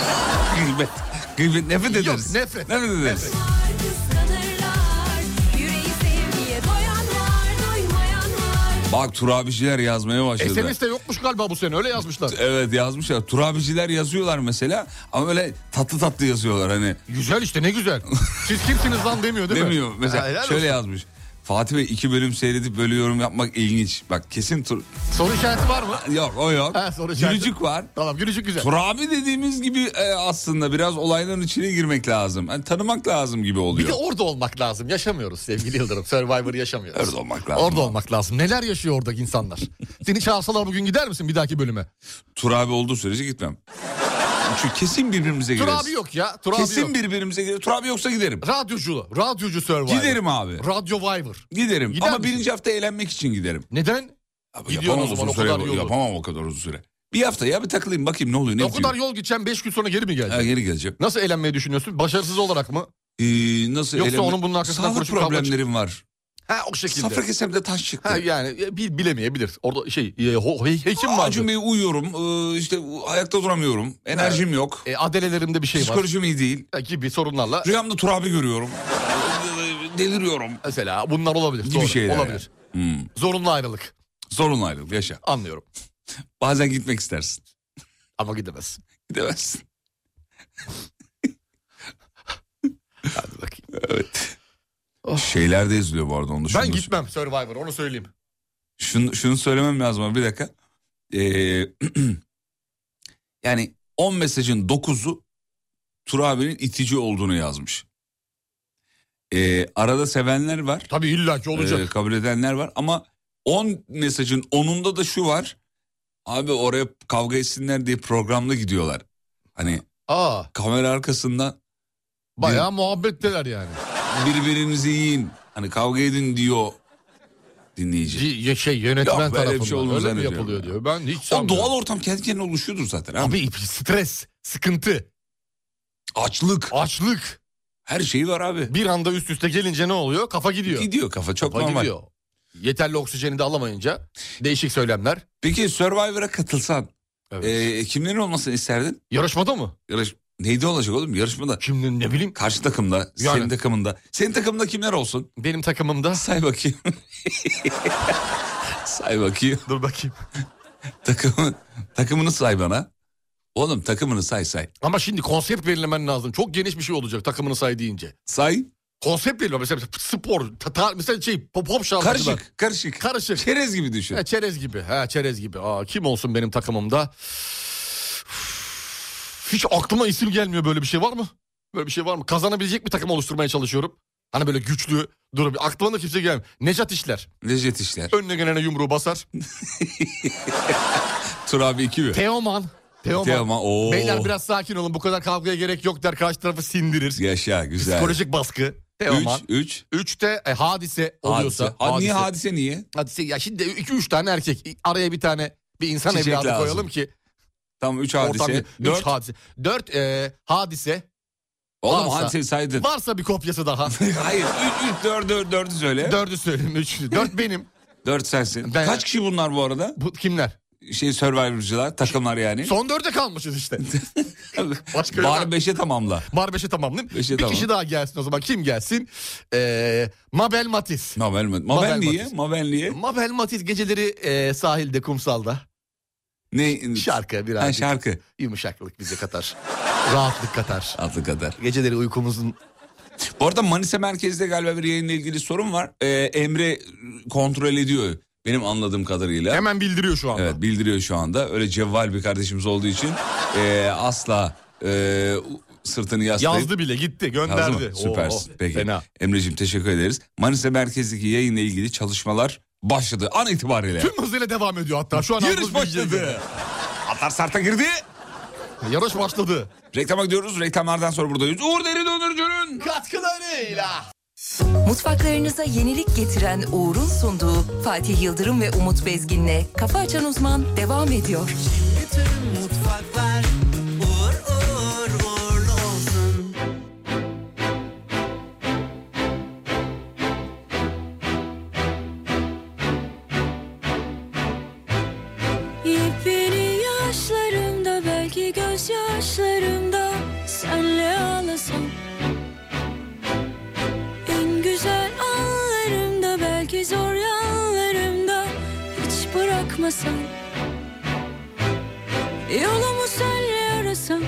Gıybet. Gıybet nefret ederiz.
nefret.
Nefret ederiz.
kıskanırlar Yüreği sevgiye doyanlar doymayanlar
Bak turabiciler
E,
yazmaya başladı.
SMS de yokmuş galiba bu sene öyle yazmışlar.
Evet yazmışlar. Turabiciler yazıyorlar mesela ama böyle tatlı tatlı yazıyorlar hani.
Güzel işte ne güzel. Siz kimsiniz lan demiyor değil mi?
Demiyor
Ha,
mesela
helal
şöyle
olsun.
yazmış. Fatih Bey iki bölüm seyredip böyle yorum yapmak ilginç. Bak kesin tur...
Soru işareti var mı?
Yok o yok.
Ha, soru işareti.
Gülücük var.
Tamam gülücük güzel.
Turabi dediğimiz gibi e, aslında biraz olayların içine girmek lazım. Hani tanımak lazım gibi
Bir
oluyor.
de orada olmak lazım. Yaşamıyoruz sevgili Yıldırım. Survivor'ı yaşamıyoruz.
Orada olmak lazım.
Orada olmak lazım. Neler yaşıyor oradaki insanlar? Seni çağırsalar bugün gider misin bir dahaki bölüme?
Turabi olduğu sürece gitmem. Çünkü kesin birbirimize
Tur
gireriz.
abi yok ya. Tur abi
Kesin
yok.
birbirimize gireriz. Turabi yoksa giderim.
Radyocu. Radyocu Survivor.
Giderim abi.
Radyo Viver.
Giderim.
Gider
Ama
misin?
birinci hafta eğlenmek için giderim.
Neden?
Abi
Gidiyorsun
yapamam
o zaman,
uzun
o
süre.
kadar yolu.
Yapamam o kadar uzun süre. Bir hafta ya bir takılayım bakayım ne oluyor ne
o kadar
bitiyor.
yol gideceğim 5 gün sonra geri mi geleceksin?
Ha, geri geleceğim.
Nasıl eğlenmeyi düşünüyorsun? Başarısız olarak mı?
Ee, nasıl
Yoksa
eğlenme-
onun bunun arkasından
Sağlık
koşup kavga
problemlerim var.
Ha o şekilde.
Safra kesemde taş çıktı.
Ha yani e, bil, bilemeyebilir. Orada şey e, ho- he- hekim
Aa,
var.
Acun Bey uyuyorum. Ee, işte ayakta duramıyorum. Enerjim yok.
E, adelelerimde bir şey var.
Psikolojim iyi değil.
E, Gibi sorunlarla
Rüyamda Turabi görüyorum. Ee, Deliriyorum.
mesela bunlar olabilir.
Gibi
Doğru,
şeyler
olabilir.
Hmm.
Zorunlu ayrılık.
Zorunlu ayrıl yaşa.
Anlıyorum.
Bazen gitmek istersin.
Ama gidemez.
Gidemezsin.
Hadi bakayım.
Evet. Şeyler de izliyor bu arada onu.
Ben
şunu-
gitmem Survivor onu söyleyeyim.
Şunu, şunu söylemem lazım ama bir dakika. Ee, yani 10 mesajın 9'u Turabi'nin itici olduğunu yazmış. Ee, arada sevenler var.
Tabii illaki olacak.
Ee, kabul edenler var ama 10 mesajın 10'unda da şu var. Abi oraya kavga etsinler diye programda gidiyorlar. Hani
Aa
kamera arkasından
bayağı muhabbetteler yani.
birbirinizi yiyin. Hani kavga edin diyor dinleyici.
Di- ye- Şey yönetmen
Yok, böyle bir
tarafından
şey olduğunu
öyle mi
zannediyorum
yapılıyor
ya.
diyor. Ben hiç
O
sanmıyorum.
doğal ortam kendi kendine oluşuyordur zaten. Abi.
Abi stres, sıkıntı,
Açlık.
açlık
Her şeyi var abi.
bir anda üst üste gelince ne oluyor? Kafa gidiyor.
Gidiyor kafa çok
Kafa
normal.
gidiyor. Yeterli oksijeni de alamayınca değişik söylemler.
Peki Survivor'a katılsan
Evet.
e, kimlerin olmasını isterdin?
Yarışmada mı?
Yarış... Neyde olacak oğlum yarışmada?
Şimdi ne bileyim
Karşı takımda,
Yani.
senin takımında. Senin takımda kimler olsun?
benim takımımda.
Say bakayım. say bakayım.
Dur bakayım.
Takımı, takımını say bana. Oğlum takımını say say.
Ama şimdi konsept verilemen lazım. Çok geniş bir şey olacak takımını say deyince.
Say.
Konsept verilme mesela spor, ta- ta- mesela şey pop, pop şarkıcılar.
Karışık. Karışık.
Karışık.
Çerez gibi düşün.
Ha, çerez gibi. Ha, çerez gibi. Aa, kim olsun benim takımımda? Hiç aklıma isim gelmiyor böyle bir şey var mı? Böyle bir şey var mı? Kazanabilecek bir takım oluşturmaya çalışıyorum. Hani böyle güçlü durum. Aklıma da kimse gelmiyor. Necat İşler.
Necdet İşler.
Önüne gelene yumruğu basar.
Tur abi 2 mi?
Teoman. Teoman.
Teoman, oo.
Beyler biraz sakin olun. Bu kadar kavgaya gerek yok der. Karşı tarafı sindirir.
Yaşa güzel.
Psikolojik baskı.
3.
Teoman.
3.
Üçte e, hadise oluyorsa.
Hadise. Ha, Niye hadise niye?
Hadise. Ya şimdi iki üç tane erkek. Araya bir tane bir insan
Çiçek
evladı
lazım.
koyalım ki.
Tamam 3
Ortam
hadise.
yok. Üç
4.
hadise. Dört e, hadise.
Oğlum
varsa-
hadiseyi saydın.
Varsa bir kopyası daha.
Hayır. 3 4 4 4'ü söyle.
Dördü söyleyeyim. Üçlü. Dört benim.
4 sensin.
Ben-
Kaç kişi bunlar bu arada?
Bu kimler?
Şey Survivor'cılar, takımlar yani.
Son dörde kalmışız işte. Başka yok.
Bari 5'e tamamla.
Bar beşe tamamlayayım.
Beşe
bir
tamam.
kişi daha gelsin o zaman. Kim gelsin? E, Mabel Matiz.
Mabel mi? Mabel
Mabel
niye?
Matiz.
Mabel niye?
Mabel Matiz geceleri e, sahilde, kumsalda.
Ne?
Şarkı
Ha,
birazcık.
şarkı.
Yumuşaklık bize katar. Rahatlık katar.
Adlı kadar.
Geceleri uykumuzun
Bu arada Manisa merkezde galiba bir yayınla ilgili sorun var. Ee, Emre kontrol ediyor benim anladığım kadarıyla.
hemen bildiriyor şu anda.
Evet bildiriyor şu anda. Öyle cevval bir kardeşimiz olduğu için ee, asla ee, sırtını yaslayıp...
Yazdı bile gitti
Yazdı mı?
gönderdi.
Süpersin.
Oo,
Peki.
Fena.
Emre'cim teşekkür ederiz. Manisa merkezdeki yayınla ilgili çalışmalar başladı an itibariyle.
Tüm hızıyla devam ediyor hatta. Şu an aldığımız
Yarış
bilgiye göre.
başladı. Atlar sarta girdi.
Yarış başladı.
Reklama gidiyoruz. Reklamlardan sonra buradayız. Uğur Deri Dondurucu'nun
Katkılarıyla.
Mutfaklarınıza yenilik getiren Uğur'un sunduğu Fatih Yıldırım ve Umut Bezgin'le Kafa Açan Uzman devam ediyor.
Bütün mutfaklar uğur uğur uğurlu olsun.
Yepyeni yaşlarımda belki gözyaşlarımda senle ağlasam En güzel anlarımda belki zor yanlarımda hiç bırakmasan Yolumu senle arasam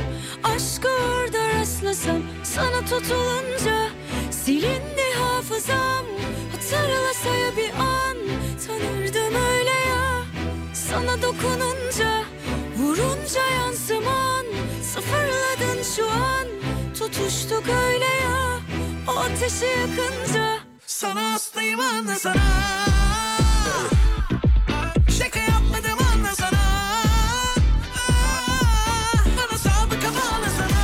aşkı orada rastlasam sana tutulunca silindi hafızam Hatırla saya bir an tanırdım öyle ya sana dokununca Vurunca yansıman Sıfırladın şu an Tutuştuk öyle ya O ateşi yakınca
Sana hastayım anla sana Şaka yapmadım anla sana Ah, Bana saldı kafa anla sana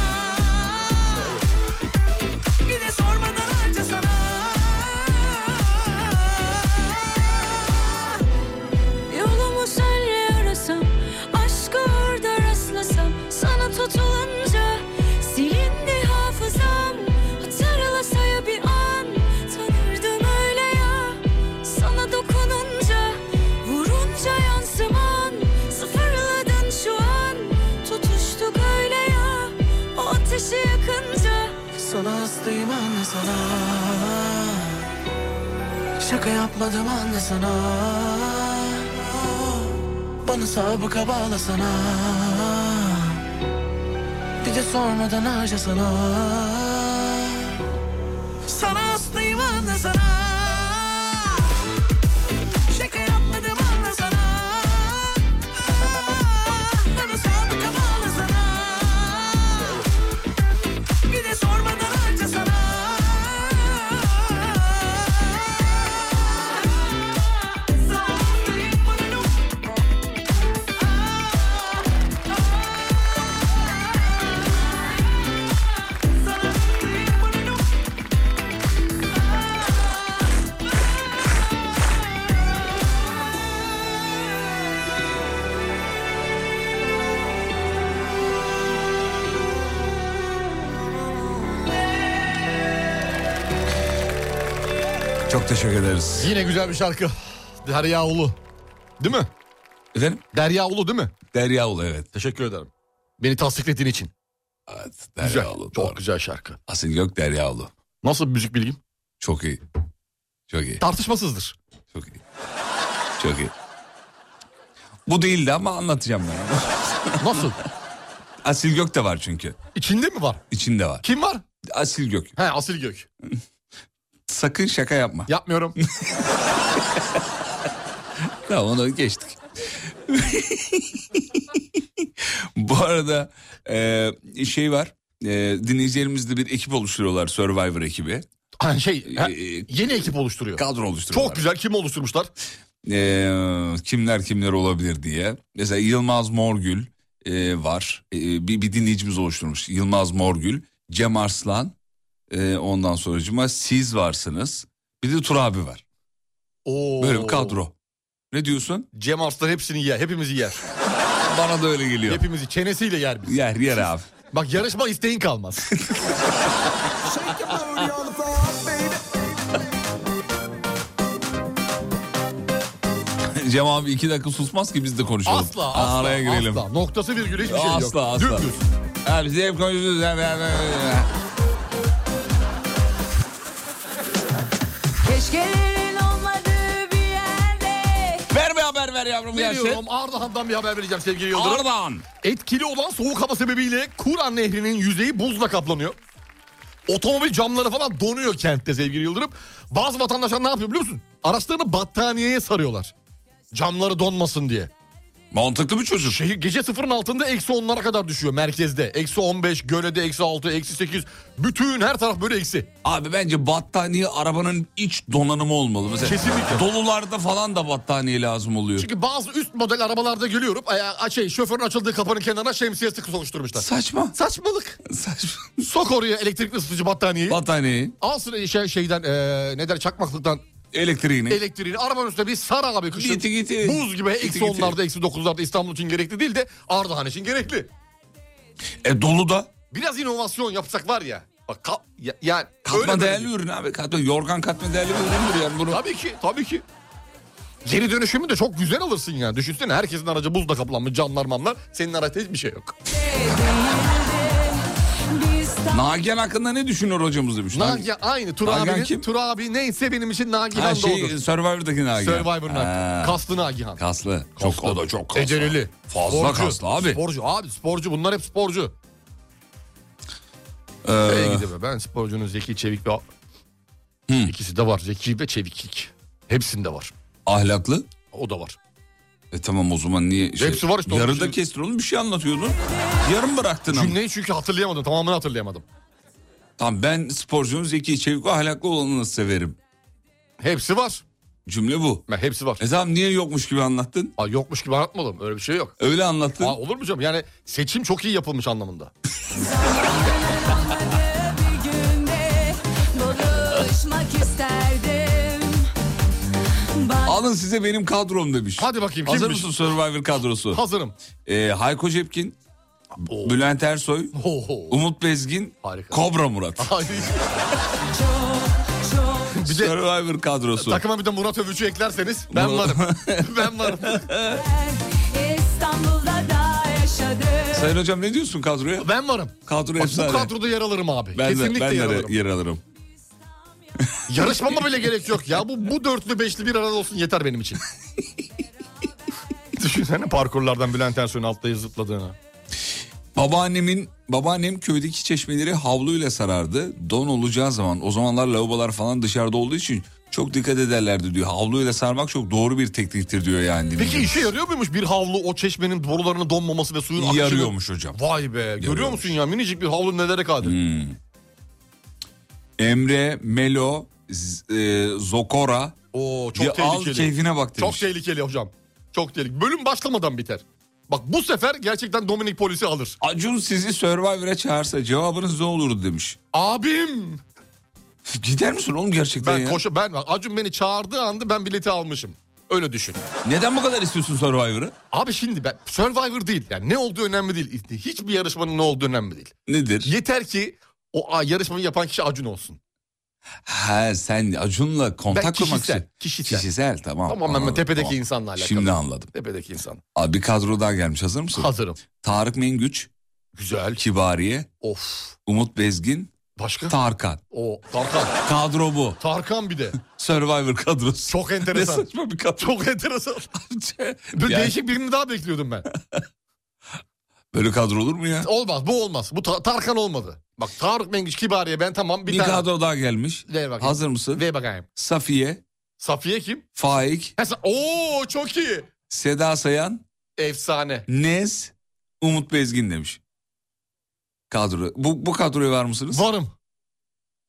Bir de sormadan harca sana
Yolumu senle arasam Aşkı orada rastlasam Sana tutulunca Silindi hafızam Hatırla saya bir an Tanırdım öyle ya
Sana hastayım anne sana Şaka yapmadım anne sana Bana sabıka bağla sana Bir de sormadan harca sana Sana hastayım anne sana Şaka yapmadım anne sana Bana sabıka bağla sana bir de sormadan harca sana
Çok teşekkür ederiz.
Yine güzel bir şarkı. Derya Ulu. Değil mi?
Efendim?
Derya Ulu değil mi?
Derya Ulu evet.
Teşekkür ederim. Beni tasdiklediğin için.
Evet,
Güzel.
Derya Ulu.
Çok
doğru.
güzel şarkı.
Asil Gök Derya Ulu.
Nasıl bir müzik bilgim?
Çok iyi. Çok iyi.
Tartışmasızdır.
Çok iyi. Çok iyi. Bu değildi ama anlatacağım ben.
Nasıl?
Asil Gök de var çünkü.
İçinde mi var?
İçinde var.
Kim var?
Asil Gök.
He Asil Gök.
Sakın şaka yapma.
Yapmıyorum.
Tamam onu geçtik. Bu arada e, şey var. E, dinleyicilerimizde bir ekip oluşturuyorlar. Survivor ekibi.
Hani şey he,
Ee,
yeni ekip oluşturuyor.
Kadro oluşturuyorlar.
Çok güzel. Kim oluşturmuşlar?
E, kimler kimler olabilir diye. Mesela Yılmaz Morgül e, var. E, bir, bir dinleyicimiz oluşturmuş. Yılmaz Morgül, Cem Arslan. E, ondan sonracıma siz varsınız. Bir de Tur abi var.
Oo.
Böyle bir kadro. Ne diyorsun?
Cem Arslan hepsini yer. Hepimizi yer.
Bana da öyle geliyor.
Hepimizi çenesiyle yer biz.
Yer yer abi.
Bak yarışma isteğin kalmaz.
Cem abi iki dakika susmaz ki biz de konuşalım.
asla
Aa,
asla.
Araya girelim.
Asla. Noktası virgülü hiçbir şey yok.
Asla asla.
Dümdüz.
Ha, biz hep konuşuyoruz. Ha, ha, ha, ha.
Keşkelerin olmadığı bir yerde
Ver bir haber ver yavrum ya.
Veriyorum. Ardahan'dan bir haber vereceğim sevgili Yıldırım.
Oradan.
Etkili olan soğuk hava sebebiyle Kur'an Nehri'nin yüzeyi buzla kaplanıyor. Otomobil camları falan donuyor kentte sevgili Yıldırım. Bazı vatandaşlar ne yapıyor biliyor musun? Araçlarını battaniyeye sarıyorlar. Camları donmasın diye.
Mantıklı bir çocuk.
Şehir gece sıfırın altında eksi onlara kadar düşüyor merkezde. Eksi 15, Göle'de eksi 6, eksi 8. Bütün her taraf böyle eksi.
Abi bence battaniye arabanın iç donanımı olmalı. Mesela
Kesinlikle.
Dolularda falan da battaniye lazım oluyor.
Çünkü bazı üst model arabalarda görüyorum. Ay- şey, şoförün açıldığı kapının kenarına şemsiye sıkı oluşturmuşlar.
Saçma.
Saçmalık.
Saçma.
Sok oraya elektrikli ısıtıcı battaniyeyi.
Battaniyeyi,
Al sıra şey, şeyden eee ne der çakmaklıktan
elektriğini.
elektriğini arabanın üstüne bir sar abi kışın.
Giti giti.
Buz gibi
Giti
eksi
giti.
onlarda eksi dokuzlarda İstanbul için gerekli değil de Ardahan için gerekli.
e dolu da.
Biraz inovasyon yapsak var ya. Bak ka- ya, yani öyle
Katma
böyle
değerli ürün abi. Katma, yorgan katma değerli bir üründür yani bunu.
Tabii ki, tabii ki. Geri dönüşümü de çok güzel alırsın yani. Düşünsene herkesin aracı buzla kaplanmış, camlar mamlar. Senin araçta hiçbir şey yok.
biz
Nagihan hakkında ne düşünüyor hocamız demiş.
Nagihan aynı. Tur
Nagihan
abinin,
kim?
Tur abi neyse benim için Nagihan
Ha,
şey,
şey,
doğdu.
Survivor'daki Nagihan.
Survivor'ın
Ha.
hakkı. Kaslı Nagihan.
Kaslı.
Kaslı.
Çok o da çok kaslı.
Ecereli.
Fazla kaslı abi.
Sporcu abi sporcu bunlar hep sporcu.
Ee,
Ee, gideme ben sporcunun zeki çevik ve... İkisi de var zeki ve çeviklik. Hepsinde var.
ahlaklı.
O da var.
E tamam o zaman niye? Şey,
Hepsi var işte, onun
Yarıda
için-
kestin oğlum bir şey anlatıyordun. Yarım bıraktın ama.
Cümleyi çünkü hatırlayamadım tamamını hatırlayamadım.
Tamam ben sporcunun zeki, çevik ve ahlaklı olanını severim.
Hepsi var.
Cümle bu.
Ben hepsi var.
E tamam niye yokmuş gibi anlattın?
Aa, yokmuş gibi anlatmadım öyle bir şey yok.
Öyle anlattın.
Aa, olur mu canım yani seçim çok iyi yapılmış anlamında.
bir günde buluşmak isterdim. Bak
Alın size benim kadrom demiş.
Hadi bakayım kimmiş?
Hazır mısın Survivor kadrosu?
Hazırım.
Ee, Hayko Cepkin,
Oo.
Bülent Ersoy,
Oho.
Umut Bezgin,
Harika.
Kobra Murat.
Ay, bir de
Survivor kadrosu.
takıma bir de Murat Övücü eklerseniz ben
Murat-
varım. ben varım.
İstanbul'da da yaşadım.
Sayın hocam ne diyorsun kadroya?
Ben varım.
Kadro
Bak,
efsane.
bu kadroda yer alırım abi.
ben de,
Kesinlikle
ben de
yer alırım.
yer alırım.
Yarışmama bile gerek yok ya. Bu, bu dörtlü beşli bir arada olsun yeter benim için. Düşünsene parkurlardan Bülent Ersoy'un altta zıpladığını.
Babaannemin babaannem köydeki çeşmeleri havluyla sarardı. Don olacağı zaman o zamanlar lavabolar falan dışarıda olduğu için çok dikkat ederlerdi diyor. Havluyla sarmak çok doğru bir tekniktir diyor yani.
Peki
dinleyicimiz.
işe yarıyor muymuş bir havlu o çeşmenin borularının donmaması ve suyun akışının?
yarıyormuş Hmm. hocam.
Vay be görüyor musun ya minicik bir havlu nelere kadir.
Emre, Melo, Z- e, Zokora
Oo çok
Ya al
tehlikeli.
keyfine bak demiş.
Çok tehlikeli hocam. Çok tehlikeli. Bölüm başlamadan biter. Bak bu sefer gerçekten Dominik polisi alır.
Acun sizi Survivor'a çağırsa cevabınız ne olurdu demiş.
Abim
Gider misin oğlum gerçekten
ben
ya?
koşa ben Acun beni çağırdığı anda ben bileti almışım. Öyle düşün.
Neden bu kadar istiyorsun Survivor'ı?
Abi şimdi ben Survivor değil yani ne olduğu önemli değil. Hiçbir yarışmanın ne olduğu önemli değil.
Nedir?
Yeter ki o a, yarışmayı yapan kişi Acun olsun.
Ha sen Acun'la kontak
Ben
kurmak
kişisel,
için-
kişisel.
Kişisel tamam.
Tamamen
anladım,
tepedeki
tamam.
insanla alakalı.
Şimdi anladım.
Tepedeki insan.
Abi kadro daha gelmiş hazır mısın?
Hazırım.
Tarık Mengüç,
Güzel.
Kibariye,
Of.
Umut Bezgin,
Başka?
Tarkan.
o Tarkan.
Kadro bu.
Tarkan bir de.
Survivor kadrosu.
Çok
ne
enteresan.
saçma bir kadro.
Çok enteresan. Böyle
Yani
değişik birini daha bekliyordum ben.
Böyle kadro olur mu ya?
Olmaz bu olmaz. Bu Ta- Tarkan olmadı. Bak Tarık Mengüç Kibariye ben tamam bir,
Bir
tane.
kadro daha gelmiş.
Ver bakayım.
Hazır mısın?
Ver bakayım.
Safiye,
Safiye kim?
Faik,
Ha, Sa- Oo çok iyi.
Seda Sayan,
Efsane.
Nez, Umut Bezgin demiş. Kadro. Bu, bu kadroya var mısınız?
Varım.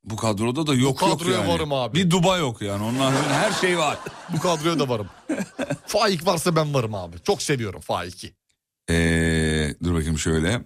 Bu kadroda da yok
Bu
yok
kadroya
yani.
varım abi.
Bir Duba yok yani. Onun haricinde her şey var.
Bu kadroya da varım. Faik varsa ben varım abi. Çok seviyorum Faik'i.
Ee, dur bakayım şöyle.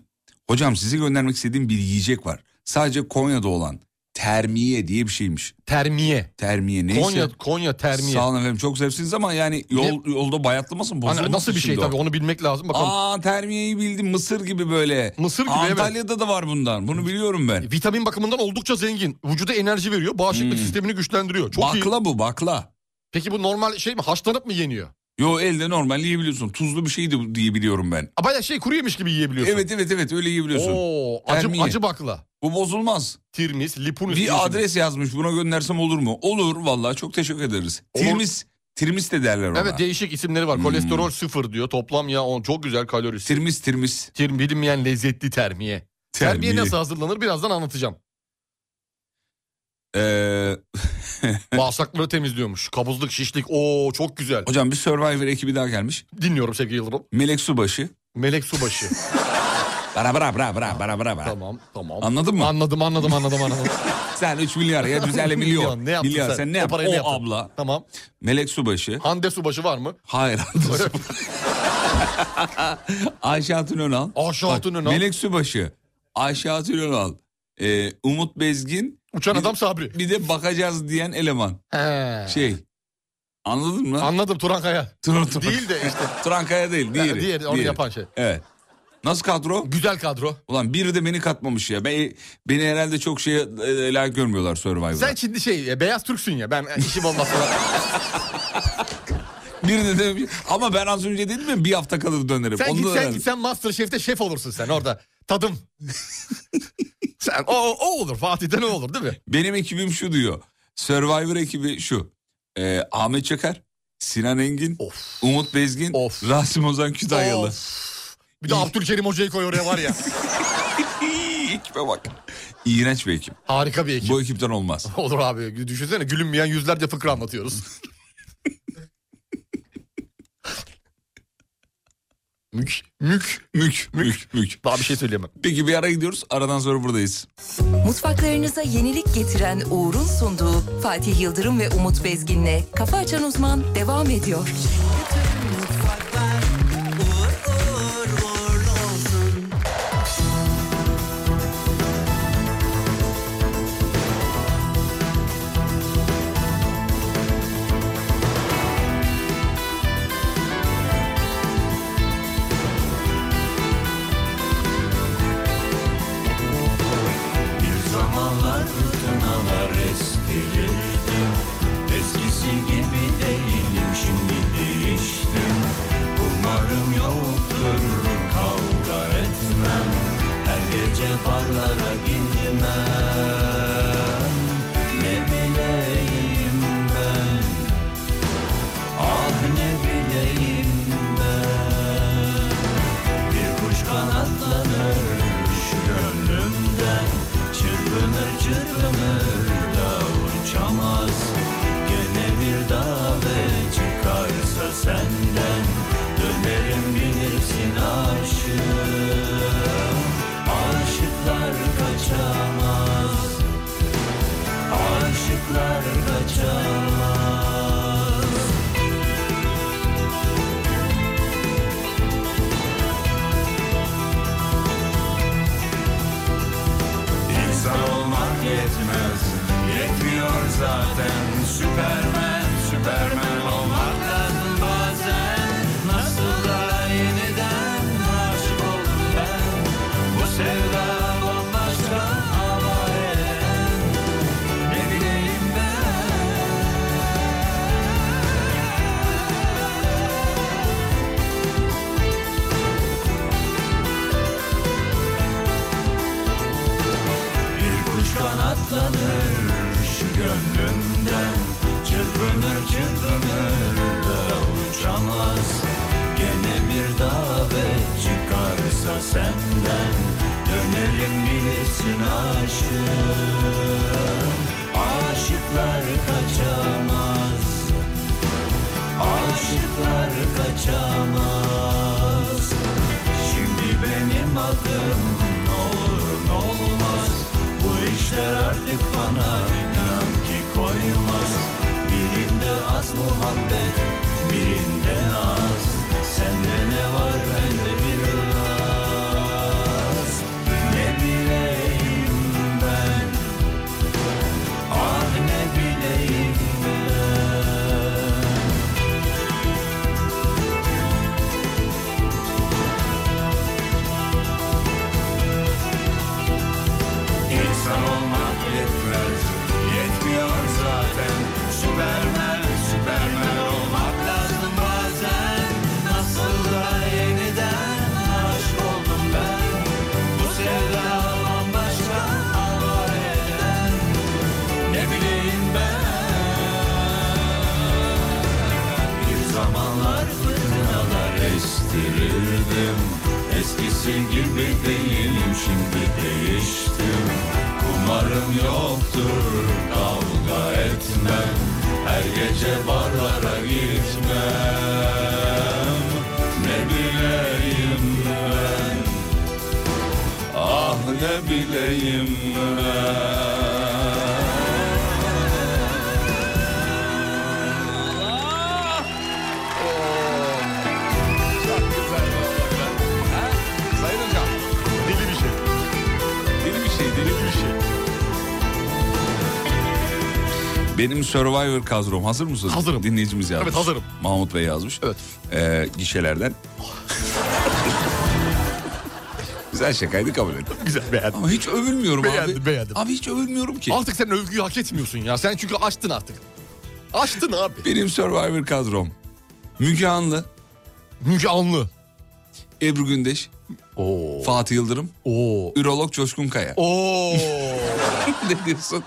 Hocam size göndermek istediğim bir yiyecek var. Sadece Konya'da olan termiye diye bir şeymiş.
Termiye.
Termiye neyse.
Konya Konya termiye.
Sağ olun efendim çok zevksiniz ama yani yol, yolda bayatlamasın
Hani
bozulmasın.
nasıl bir şey
şimdi o.
tabii onu bilmek lazım. Bakalım.
Aa termiyeyi bildim mısır gibi böyle.
Mısır gibi, evet. E,
Antalya'da da var bundan bunu biliyorum ben.
Vitamin bakımından oldukça zengin. Vücuda enerji veriyor. Bağışıklık Hmm. sistemini güçlendiriyor. Çok iyi.
bakla bu bakla.
Peki bu normal şey mi? Haşlanıp mı yeniyor?
Yo elde normal yiyebiliyorsun. Tuzlu bir şeydi bu diye biliyorum ben.
Aa, Bayağı şey kuru yemiş gibi yiyebiliyorsun.
Evet evet evet öyle yiyebiliyorsun.
Oo, acı,
Termiye.
acı bakla.
Bu bozulmaz.
Tirmis, lipunus.
Bir
diyorsun.
adres yazmış buna göndersem olur mu? Olur vallahi çok teşekkür ederiz.
Olur.
Tirmis, tirmis de derler ona.
Evet değişik isimleri var. Kolesterol sıfır diyor. Toplam yağ on. Çok güzel kalorisi.
Tirmis, tirmis.
Tir, bilinmeyen lezzetli termiye. Termiye
Terbiye.
nasıl hazırlanır birazdan anlatacağım.
Ee,
Bağırsakları temizliyormuş. Kabızlık, şişlik. Oo çok güzel.
hocam bir Survivor ekibi daha gelmiş.
Dinliyorum sevgili Yıldırım.
Melek Subaşı.
Melek Subaşı.
Bara bara bara bara bara bara.
tamam, tamam.
Anladın mı?
Anladım, anladım, anladım, anladım.
Sen 3 milyar ya düzele milyon.
ne yaptın
milyar. sen? ne
O
yaptın?
parayı
O,
ne yaptın?
abla.
Tamam.
Melek Subaşı.
Hande Subaşı var mı?
Hayır. Ayşe Hatun Önal.
Ayşe
Bak,
Hatun Önal.
Melek Subaşı. Ayşe Hatun Önal. Ee, Umut Bezgin.
Uçan
Bir-
adam Sabri.
Bir de bakacağız diyen eleman.
He.
Şey. Anladın mı?
Anladım Turan Kaya.
Turan- Turan-
Değil de işte.
Turan Kaya değil. Diğeri.
diğeri, onu yapan şey.
Evet. Nasıl kadro?
Güzel kadro.
Ulan biri de beni katmamış ya. Ben, beni herhalde çok şeye e, layık görmüyorlar Survivor'a.
Sen şimdi şey e, beyaz Türksün ya ben e, işim olmaz falan.
Biri de demiş. Ama ben az önce dedim ya bir hafta kalır dönerim.
sen
Onda da
gitsen
herhalde-
gitsen Masterchef'te şef olursun sen orada. Tadım. sen o, o olur Fatih'te ne olur değil mi?
Benim ekibim şu diyor. Survivor ekibi şu. Ee, Ahmet Çakar, Sinan Engin,
Of.
Umut Bezgin,
Of.
Rasim Ozan Kütahyalı.
Of. Bir de Abdülkerim Hoca'yı koy oraya var ya.
İyi, Ekibe bak. İğrenç bir ekip.
Harika bir ekip.
Bu ekipten olmaz.
Olur abi düşünsene gülünmeyen yüzlerce fıkra anlatıyoruz. mük, mük, mük, mük, mük. Daha bir şey söyleyemem.
Peki bir ara gidiyoruz. Aradan sonra buradayız.
Mutfaklarınıza yenilik getiren Uğur'un sunduğu Fatih Yıldırım ve Umut Bezgin'le Kafa Açan Uzman devam ediyor.
Bir zamanlar fırtınalar estilirdim Eskisi gibi değilim şimdi değiştim
parlara girmem Ne bileyim ben Ah ne bileyim ben Bir kuş kanatlanır şu gönlümden Çırpınır çırpınır da uçamaz Gene bir dave çıkarsa senden Dönerim bilirsin aşığım Aşıklar kaçamaz Aşıklar kaçamaz İnsan olmak yetmez Yetmiyor zaten Süpermen, süpermen olmak lazım bazen Nasıl da yeniden aşık oldum ben Bu sevda bambaşka ama en Ne bileyim ben Bir kuş kanatlanır şu gönlümden Çırpınır çırpınır da uçamaz Gene bir davet çıkarsa senden Dönerim bilirsin aşığım Aşıklar kaçamaz Aşıklar kaçamaz Şimdi benim adım ne olur ne olmaz Bu işler artık bana inan ki koymaz Birinde az muhabbet birinde az Sende ne var bende biraz Ne bileyim ben Ah ne bileyim ben İnsan olmak yetmez Yetmiyor zaten Süpermen, süpermen olmak lazım bazen Nasıl da yeniden aşık oldum ben Bu sevda bambaşka ama neden? Ne bileyim ben bir zamanlar fırtınalar estirirdim Eskisi gibi değilim şimdi değiştim Umarım yoktur kavga etmem Her gece barlara gitmem Ne bileyim ben Ah ne bileyim ben
Sayın hocam. Deli bir şey.
Deli bir şey, deli
Deli bir şey.
Benim Survivor kadrom hazır mısın?
Hazırım.
Dinleyicimiz yazmış.
Evet, hazırım.
Mahmut Bey yazmış.
Evet.
Ee, gişelerden. Güzel şakaydı kabul ettim.
Güzel beğendim.
Ama hiç övülmüyorum abi.
Beğendim, beğendim.
Abi hiç övülmüyorum ki.
Artık sen övgüyü hak etmiyorsun ya. Sen çünkü açtın artık. Açtın abi.
Benim Survivor kadrom. Müge Anlı,
Müge Anlı.
Ebru Gündeş,
Oo.
Fatih Yıldırım,
Oo.
Ürolog Coşkun Kaya.
Oo.
ne diyorsun?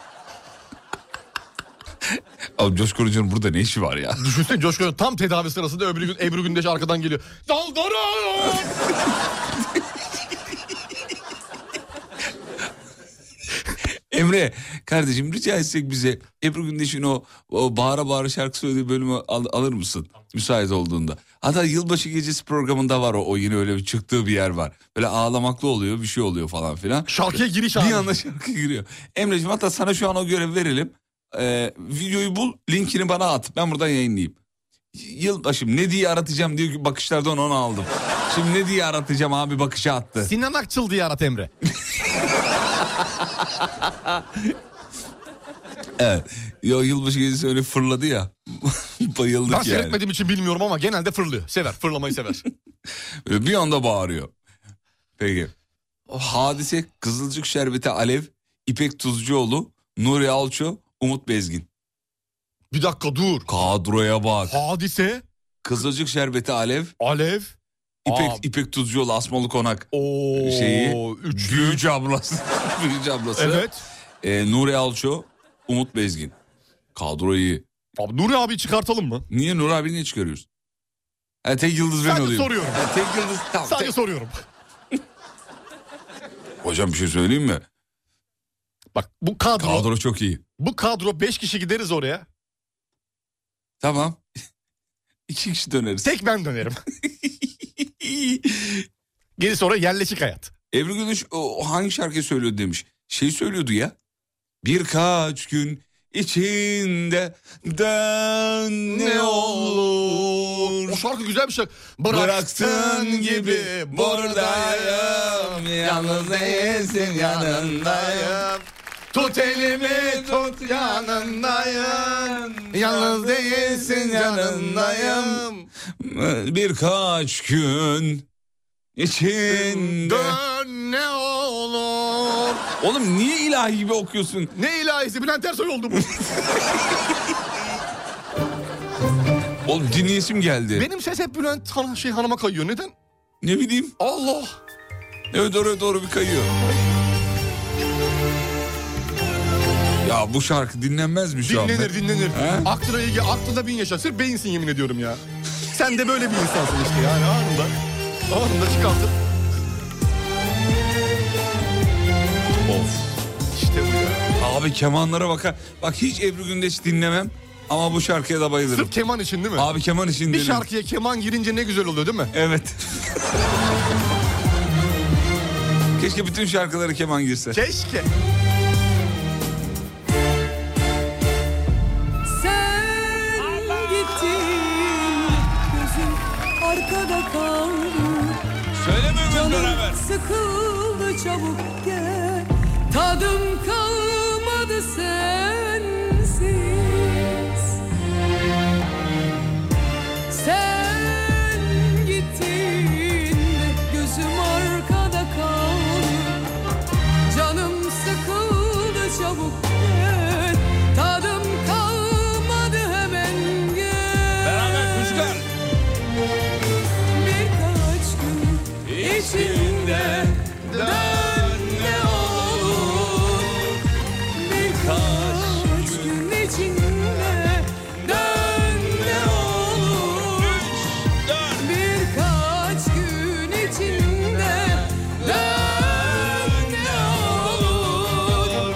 Abi Coşkun Hoca'nın burada ne işi var ya?
Düşünsene Coşkun tam tedavi sırasında öbür gün Ebru Gündeş arkadan geliyor. Daldırın!
Emre kardeşim rica etsek bize Ebru Gündeş'in o, o bağıra bağıra şarkı söylediği bölümü al- alır mısın? Müsait olduğunda. Hatta yılbaşı gecesi programında var o, o yine öyle bir çıktığı bir yer var. Böyle ağlamaklı oluyor bir şey oluyor falan filan.
Şarkıya giriş abi.
Bir anda şarkı giriyor. Emre'ciğim hatta sana şu an o görevi verelim. Ee, videoyu bul linkini bana at ben buradan yayınlayayım. Y- Yılbaşım ne diye aratacağım diyor ki bakışlardan onu aldım. Şimdi ne diye aratacağım abi bakışa attı.
Sinan Akçıl diye arat Emre.
Evet. Ya yılbaşı gecesi öyle fırladı ya. Bayıldık
Ben
yani.
seyretmediğim için bilmiyorum ama genelde fırlıyor. Sever. Fırlamayı sever.
Böyle Ee, bir anda bağırıyor. Peki. Hadise Kızılcık Şerbeti Alev, İpek Tuzcuoğlu, Nuri Alço, Umut Bezgin.
bir dakika dur.
Kadroya bak.
Hadise,
Kızılcık Şerbeti Alev,
Alev,
İpek,
Aa.
İpek Tuzcuoğlu Asmalı Konak
Oo,
şeyi.
üçlü.
Büyücü ablası. Büyücü ablası.
Evet.
Ee, Nuri Alço, Umut Bezgin. Kadro iyi.
Abi Nuri abi çıkartalım mı?
Niye Nuri abi niye çıkarıyorsun? Ha, tek yıldız ben
Sadece
olayım.
soruyorum.
Ha, tek yıldız tamam.
Sadece
tek-
soruyorum.
Hocam bir şey söyleyeyim mi?
Bak bu kadro,
Kadro çok iyi.
bu kadro 5 kişi gideriz oraya.
Tamam. İki kişi döneriz.
Tek ben dönerim. Gerisi oraya yerleşik hayat.
Ebru Gündeş o, hangi şarkıyı söylüyordu demiş. Şey söylüyordu ya. Birkaç gün içinde dön ne
O
olur.
şarkı güzel bir şarkı.
Bıraktığın gibi buradayım. Yalnız değilsin yanındayım.
Tut elimi tut yanındayım. Yalnız değilsin yanındayım.
Birkaç gün içinde.
Dön ne olur.
Oğlum niye ilahi gibi okuyorsun?
Ne ilahisi Bülent Ersoy oldu bu.
Oğlum dinleyesim geldi.
Benim ses hep Bülent Han- şey hanıma kayıyor. Neden?
Ne bileyim.
Allah.
Evet oraya doğru bir kayıyor. Ya bu şarkı dinlenmez mi şu an?
Dinlenir dinlenir.
He?
Aklına ilgi aklında bin yaşa. Sırf beyinsin yemin ediyorum ya. Sen de böyle bir insansın işte yani anında. Anında çıkartıp.
Of.
İşte bu ya.
Abi kemanlara bakar. Bak hiç Ebru Gündeş dinlemem ama bu şarkıya da bayılırım.
Sırf keman için değil mi?
Abi keman için
bir
dinlerim.
şarkıya keman girince ne güzel oluyor değil mi?
Evet. Keşke bütün şarkıları keman girse.
Keşke.
Sen gittin gözüm arkada kaldı
Söyleme Ömer beraber.
Sıkıldı çabuk gel Tadım kalmadı sensiz Sen gittin de gözüm arkada kaldı Canım sıkıldı çabuk gel Tadım kalmadı hemen gel
Beraber Kuşgar.
Birkaç gün içinde dön ne olur Birkaç gün içinde dön ne olur Birkaç gün içinde dön ne olur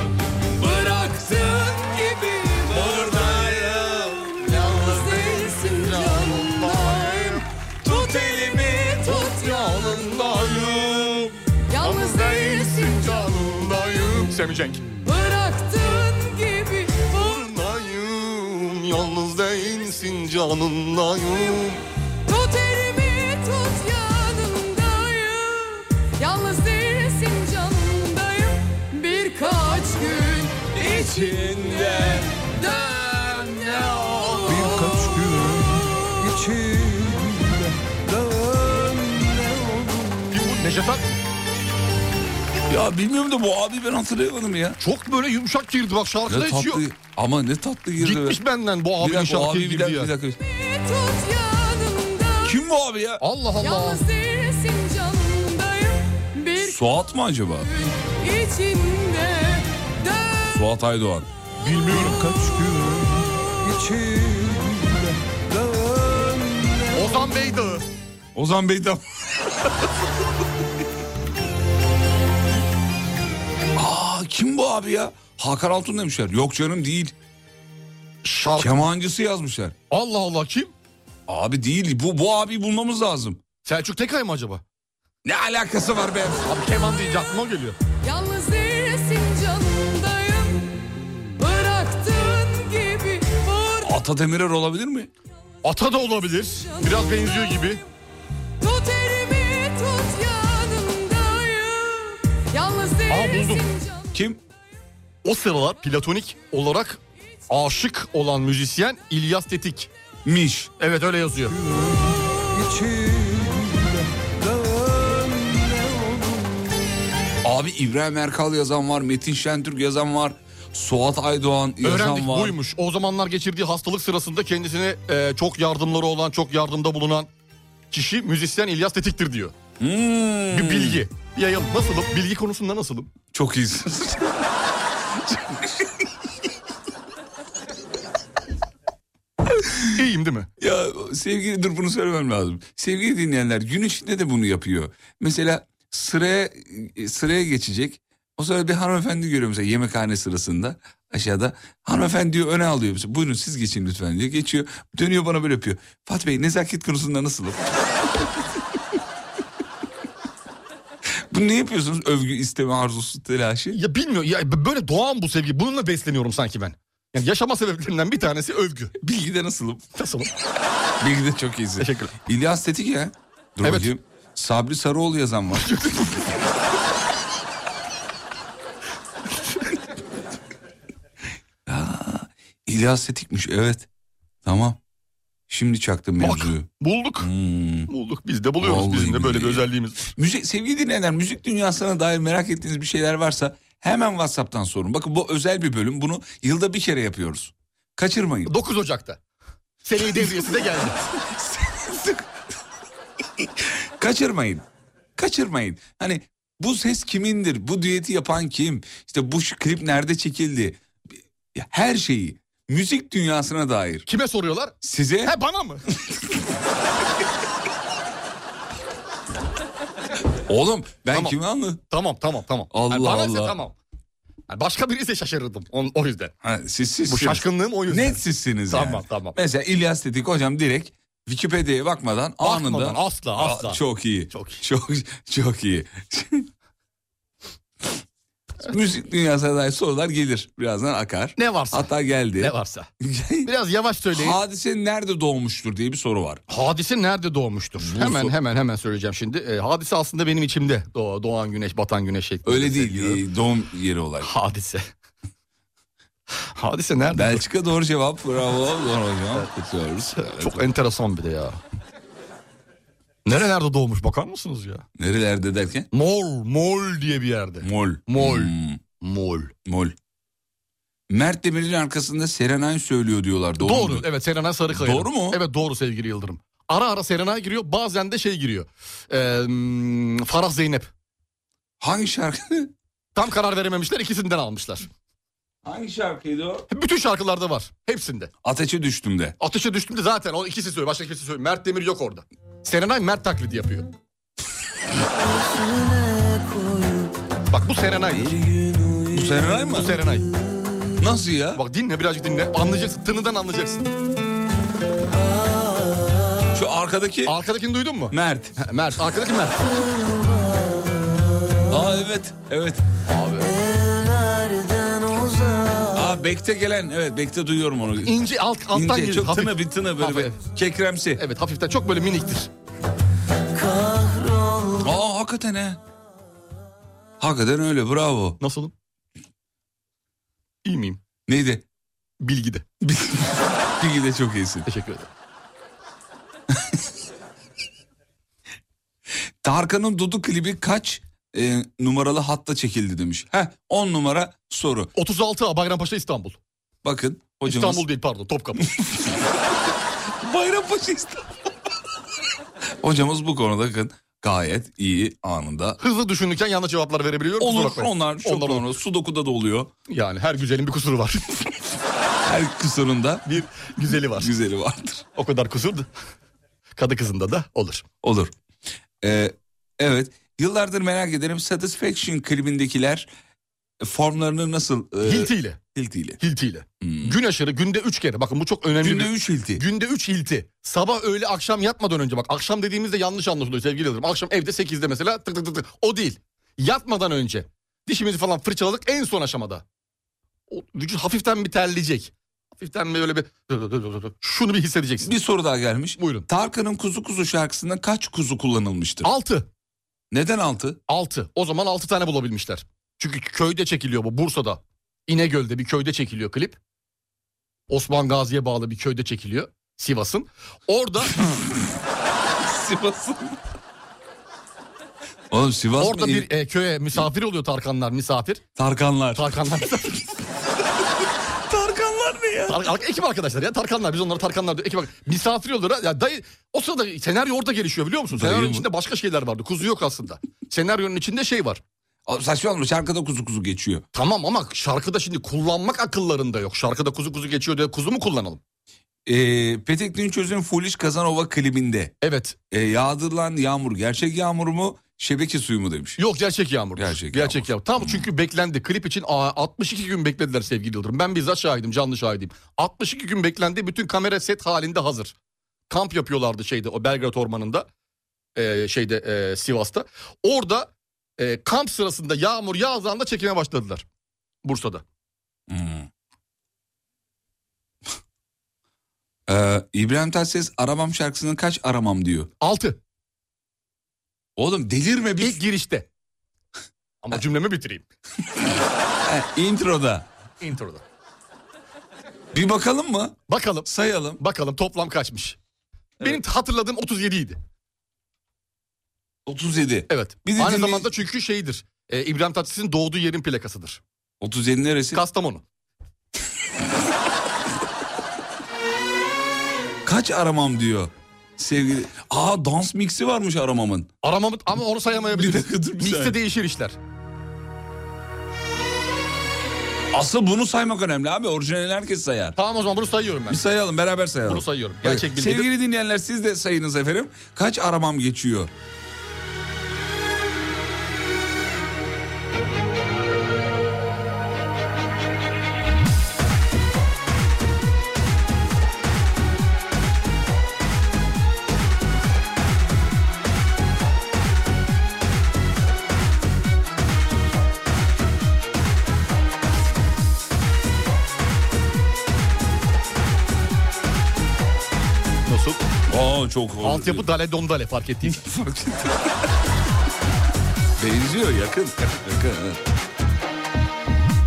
Bıraktığın gibi buradayım Yalnız değilsin canımdayım Tut elimi tut
Yanındayım.
Yalnız değilsin
Yanındayım. Semih Cenk.
Bıraktığın gibi vur
Yanındayım. Yalnız değilsin canındayım.
Tut elimi tut yanındayım Yalnız değilsin canındayım Birkaç gün içinde Dön ne olur
Birkaç gün içinde
Kim bu? Neşet Ak.
Ya bilmiyorum da bu abi ben hatırlayamadım ya.
Çok böyle yumuşak girdi bak şarkıda
Ne
hiç yok.
tatlı ama ne tatlı girdi. be.
Gitmiş benden bu
bir
abinin
dakika o
şarkıya
abi bir
girdi
dakika,
ya.
bir dakika.
Tut yanımda
Kim bu abi ya?
Allah Allah.
Yalnız değilsin canımdayım Bir
Suat mı acaba?
gün içinde Dön
Suat Aydoğan.
Bilmiyorum.
Kaç gün
Ozan Bey Dağı.
Ozan Bey de... Aa kim bu abi ya? Hakan Altun demişler. Yok canım değil.
Şarkı.
Kemancısı yazmışlar.
Allah Allah kim?
Abi değil bu bu abi bulmamız lazım.
Selçuk Tekay mı acaba?
Ne alakası var be?
Abi keman deyince aklıma o geliyor.
Yalnız değilsin canımdayım Bıraktığın gibi vur
Ata Demirer olabilir mi?
Ata da olabilir. Biraz benziyor gibi.
Tut elimi tut yanımdayım Yalnız değilsin
buldum.
canım
Kim?
O sıralar platonik olarak aşık olan müzisyen İlyas Tetik.
Miş.
Evet öyle yazıyor.
Abi İbrahim Erkal yazan var, Metin Şentürk yazan var, Suat Aydoğan yazan
Öğrendik
var.
buymuş. O zamanlar geçirdiği hastalık sırasında kendisine e, çok yardımları olan, çok yardımda bulunan kişi müzisyen İlyas Tetik'tir diyor.
Hmm.
Bir bilgi. Yayıl. Nasılım? Bilgi konusunda nasılım?
Çok iyisiniz.
İyiyim değil mi?
Ya sevgili dur bunu söylemem lazım. Sevgili dinleyenler gün içinde de bunu yapıyor. Mesela sıraya e, sıraya geçecek. O sırada bir hanımefendi görüyor mesela yemekhane sırasında aşağıda. Hanımefendi diyor öne alıyor. Mesela, Buyurun siz geçin lütfen diyor. Geçiyor. Dönüyor bana böyle yapıyor. Fatih Bey nezaket konusunda nasılım? Bunu ne yapıyorsunuz? Övgü, isteme, arzusu, telaşı.
Ya bilmiyorum. Ya b- böyle doğan bu sevgi. Bununla besleniyorum sanki ben. Yani yaşama sebeplerinden bir tanesi övgü.
Bilgide nasılım?
Nasılım?
Bilgide çok iyisin.
Teşekkürler.
İlyas Tetik ya. Dur
Evet.
bakayım. Sabri Sarıoğlu yazan var. Aa, İlyas Tetik'miş evet. Tamam. Şimdi çaktım
Bak.
mevzuyu.
Bulduk.
Hmm.
Bulduk. Biz de buluyoruz.
Vallahi
Bizim de böyle bir
billahi.
özelliğimiz var.
Müzik, sevgili dinleyenler müzik dünyasına dair merak ettiğiniz bir şeyler varsa hemen Whatsapp'tan sorun. Bakın bu özel bir bölüm. Bunu yılda bir kere yapıyoruz. Kaçırmayın.
9 Ocak'ta. Seneyi devriyesi de geldi.
Kaçırmayın. Kaçırmayın. Hani bu ses kimindir? Bu düeti yapan kim? İşte bu şu klip nerede çekildi? Ya Her şeyi. Müzik dünyasına dair.
Kime soruyorlar?
Size
He bana mı?
oğlum ben
Tamam.
kimi anlı?
tamam tamam tamam.
Allah
Yani bana ise
Allah.
tamam. Yani başka birisi şaşırırdım. On- o yüzden.
Ha, siz sizsiniz.
Bu şaşkınlığım o yüzden.
Net sizsiniz
Tamam,
yani.
tamam.
Mesela İlyas dedik hocam direkt Wikipedia'ya bakmadan,
Bakmadan
anında.
asla
Aa,
asla.
çok iyi.
Çok iyi.
Çok, çok iyi. Müzik dünyasına dair sorular gelir. Birazdan akar.
Ne varsa.
Hatta geldi.
Ne varsa. Biraz yavaş söyleyin.
Hadise nerede doğmuştur diye bir soru var.
Hadise nerede doğmuştur? hemen hemen hemen söyleyeceğim şimdi. Ee, hadise aslında benim içimde. Doğ- doğan güneş, batan güneş şeklinde.
Öyle değil
seviyorum.
e, doğum yeri olarak.
Hadise. hadise nerede?
Belçika doğru cevap. Bravo doğru cevap. Kutluyoruz.
Çok enteresan bir de ya. Nerelerde doğmuş bakar mısınız ya?
Nerelerde derken?
Mol, Mol diye bir yerde.
Mol.
Mol.
Hmm,
Mol.
mol. Mert Demir'in arkasında Serenay söylüyor diyorlar. Doğru.
Doğru.
mu?
Evet Serenay Sarıkaya.
Doğru mu?
Evet doğru sevgili Yıldırım. Ara ara Serenay giriyor bazen de şey giriyor. Ee, hmm, Farah Zeynep.
Hangi şarkı?
Tam karar verememişler ikisinden almışlar.
Hangi şarkıydı o?
Bütün şarkılarda var. Hepsinde.
Ateşe düştüm de.
Ateşe düştüm de zaten o ikisi söylüyor. Başka kimse söylüyor. Mert Demir yok orada. Serenay Mert taklidi yapıyor. Bak bu Serenay.
Bu Serenay mı?
Bu Serenay.
Nasıl ya?
Bak dinle birazcık dinle. Anlayacaksın. Tınıdan anlayacaksın.
Şu arkadaki
Arkadakini duydun mu?
Mert.
Ha, Mert. Arkadaki Mert.
Aa evet. Evet.
Abi.
Aa Bek'te gelen. Evet Bek'te duyuyorum onu.
İnce alt, alttan
İnce,
geliyor.
çok
Hafif.
tını bir tını böyle.
Hafif.
bir Kekremsi.
Evet hafiften çok böyle miniktir.
Aa hakikaten he. Hakikaten öyle bravo.
Nasılım? İyi miyim?
Neydi?
Bilgide.
Bilgi de çok iyisin.
Teşekkür ederim.
Tarkan'ın Dudu klibi kaç e, numaralı hatta çekildi demiş. Heh 10 numara soru.
36 A Bayrampaşa İstanbul.
Bakın hocamız.
İstanbul değil pardon Topkapı.
Bayrampaşa İstanbul. hocamız bu konuda bakın gayet iyi anında.
Hızlı düşünürken yanlış cevaplar verebiliyorum. kusura
Olur
bakmayın.
onlar çok
Ondan
onlar, Sudoku'da da oluyor.
Yani her güzelin bir kusuru var.
Her kısırında
bir güzeli var.
güzeli vardır.
O kadar kusur da kadı kızında da olur.
Olur. Ee, evet. Yıllardır merak ederim. Satisfaction klibindekiler e, formlarını nasıl... e,
Hiltiyle.
Hiltiyle.
Hiltiyle.
Hmm.
Gün aşırı günde 3 kere. Bakın bu çok önemli.
Günde
bir-
3 hilti.
Günde 3 hilti. Sabah öğle akşam yatmadan önce bak. Akşam dediğimizde yanlış anlaşılıyor sevgili yıldırım. Akşam evde 8'de mesela tık tık tık tık. O değil. Yatmadan önce. Dişimizi falan fırçaladık en son aşamada. O vücut hafiften bir terleyecek. Hafiften bir böyle bir şunu bir hissedeceksin.
Bir soru daha gelmiş.
Buyurun.
Tarkan'ın Kuzu Kuzu şarkısında kaç kuzu kullanılmıştır?
6.
Neden 6?
6. O zaman 6 tane bulabilmişler. Çünkü köyde çekiliyor bu Bursa'da. İnegöl'de bir köyde çekiliyor klip. Osman Gazi'ye bağlı bir köyde çekiliyor. Sivas'ın. Orada
Sivas'ın. Oğlum Sivas
orada
mı?
bir e, köye misafir oluyor Tarkanlar misafir.
Tarkanlar.
Tarkanlar.
Tarkanlar. Tarkanlar ne ya?
Tar- ekip arkadaşlar ya Tarkanlar biz onlara Tarkanlar diyor. Ekip ar- misafir yollara ya dayı o sırada senaryo orada gelişiyor biliyor musun?
Dayı
Senaryonun
mı?
içinde başka şeyler vardı. Kuzu yok aslında. Senaryonun içinde şey var.
Oğlum Saçmalama şarkıda kuzu kuzu geçiyor.
Tamam ama şarkıda şimdi kullanmak akıllarında yok. Şarkıda kuzu kuzu geçiyor diye kuzu mu kullanalım?
Ee, Petek Dinçöz'ün Foolish Kazanova klibinde
Evet.
e, yağdırılan yağmur gerçek yağmur mu şebeke suyu mu demiş.
Yok gerçek yağmur.
Gerçek
yağmur. Tam çünkü beklendi. Klip için aa, 62 gün beklediler sevgili Yıldırım. Ben bizzat şahidim canlı şahidim. 62 gün beklendi. Bütün kamera set halinde hazır. Kamp yapıyorlardı şeyde o Belgrad Ormanı'nda. Ee, şeyde ee, Sivas'ta. Orada ee, kamp sırasında yağmur yağdığında çekime başladılar. Bursa'da.
Hmm. Ee, İbrahim Tatlıses aramam şarkısının kaç aramam diyor.
6.
Oğlum delirme bir
İlk girişte. Ama cümlemi bitireyim.
introda.
Intro'da.
Bir bakalım mı?
Bakalım.
Sayalım.
Bakalım toplam kaçmış. Benim hatırladığım 37 idi.
37.
Evet.
Bir de
Aynı
dinley-
zamanda çünkü şeydir. e, İbrahim Tatlıses'in doğduğu yerin plakasıdır.
37 neresi?
Kastamonu.
Kaç aramam diyor. Sevgili... Aa dans miksi varmış aramamın.
Aramamı ama onu
Bir
sayamayabiliriz.
dakika dur, bir saniye.
Mixte değişir işler.
Asıl bunu saymak önemli abi. Orijinalini herkes sayar.
Tamam o zaman bunu sayıyorum ben.
Bir sayalım beraber sayalım.
Bunu sayıyorum. Gerçek
Evet.
bilgi.
Sevgili dinleyenler siz de sayınız efendim. Kaç aramam geçiyor?
Nasıl?
Aa çok.
Altyapı dale dondale fark ettiğim.
Benziyor yakın. Yakın. evet.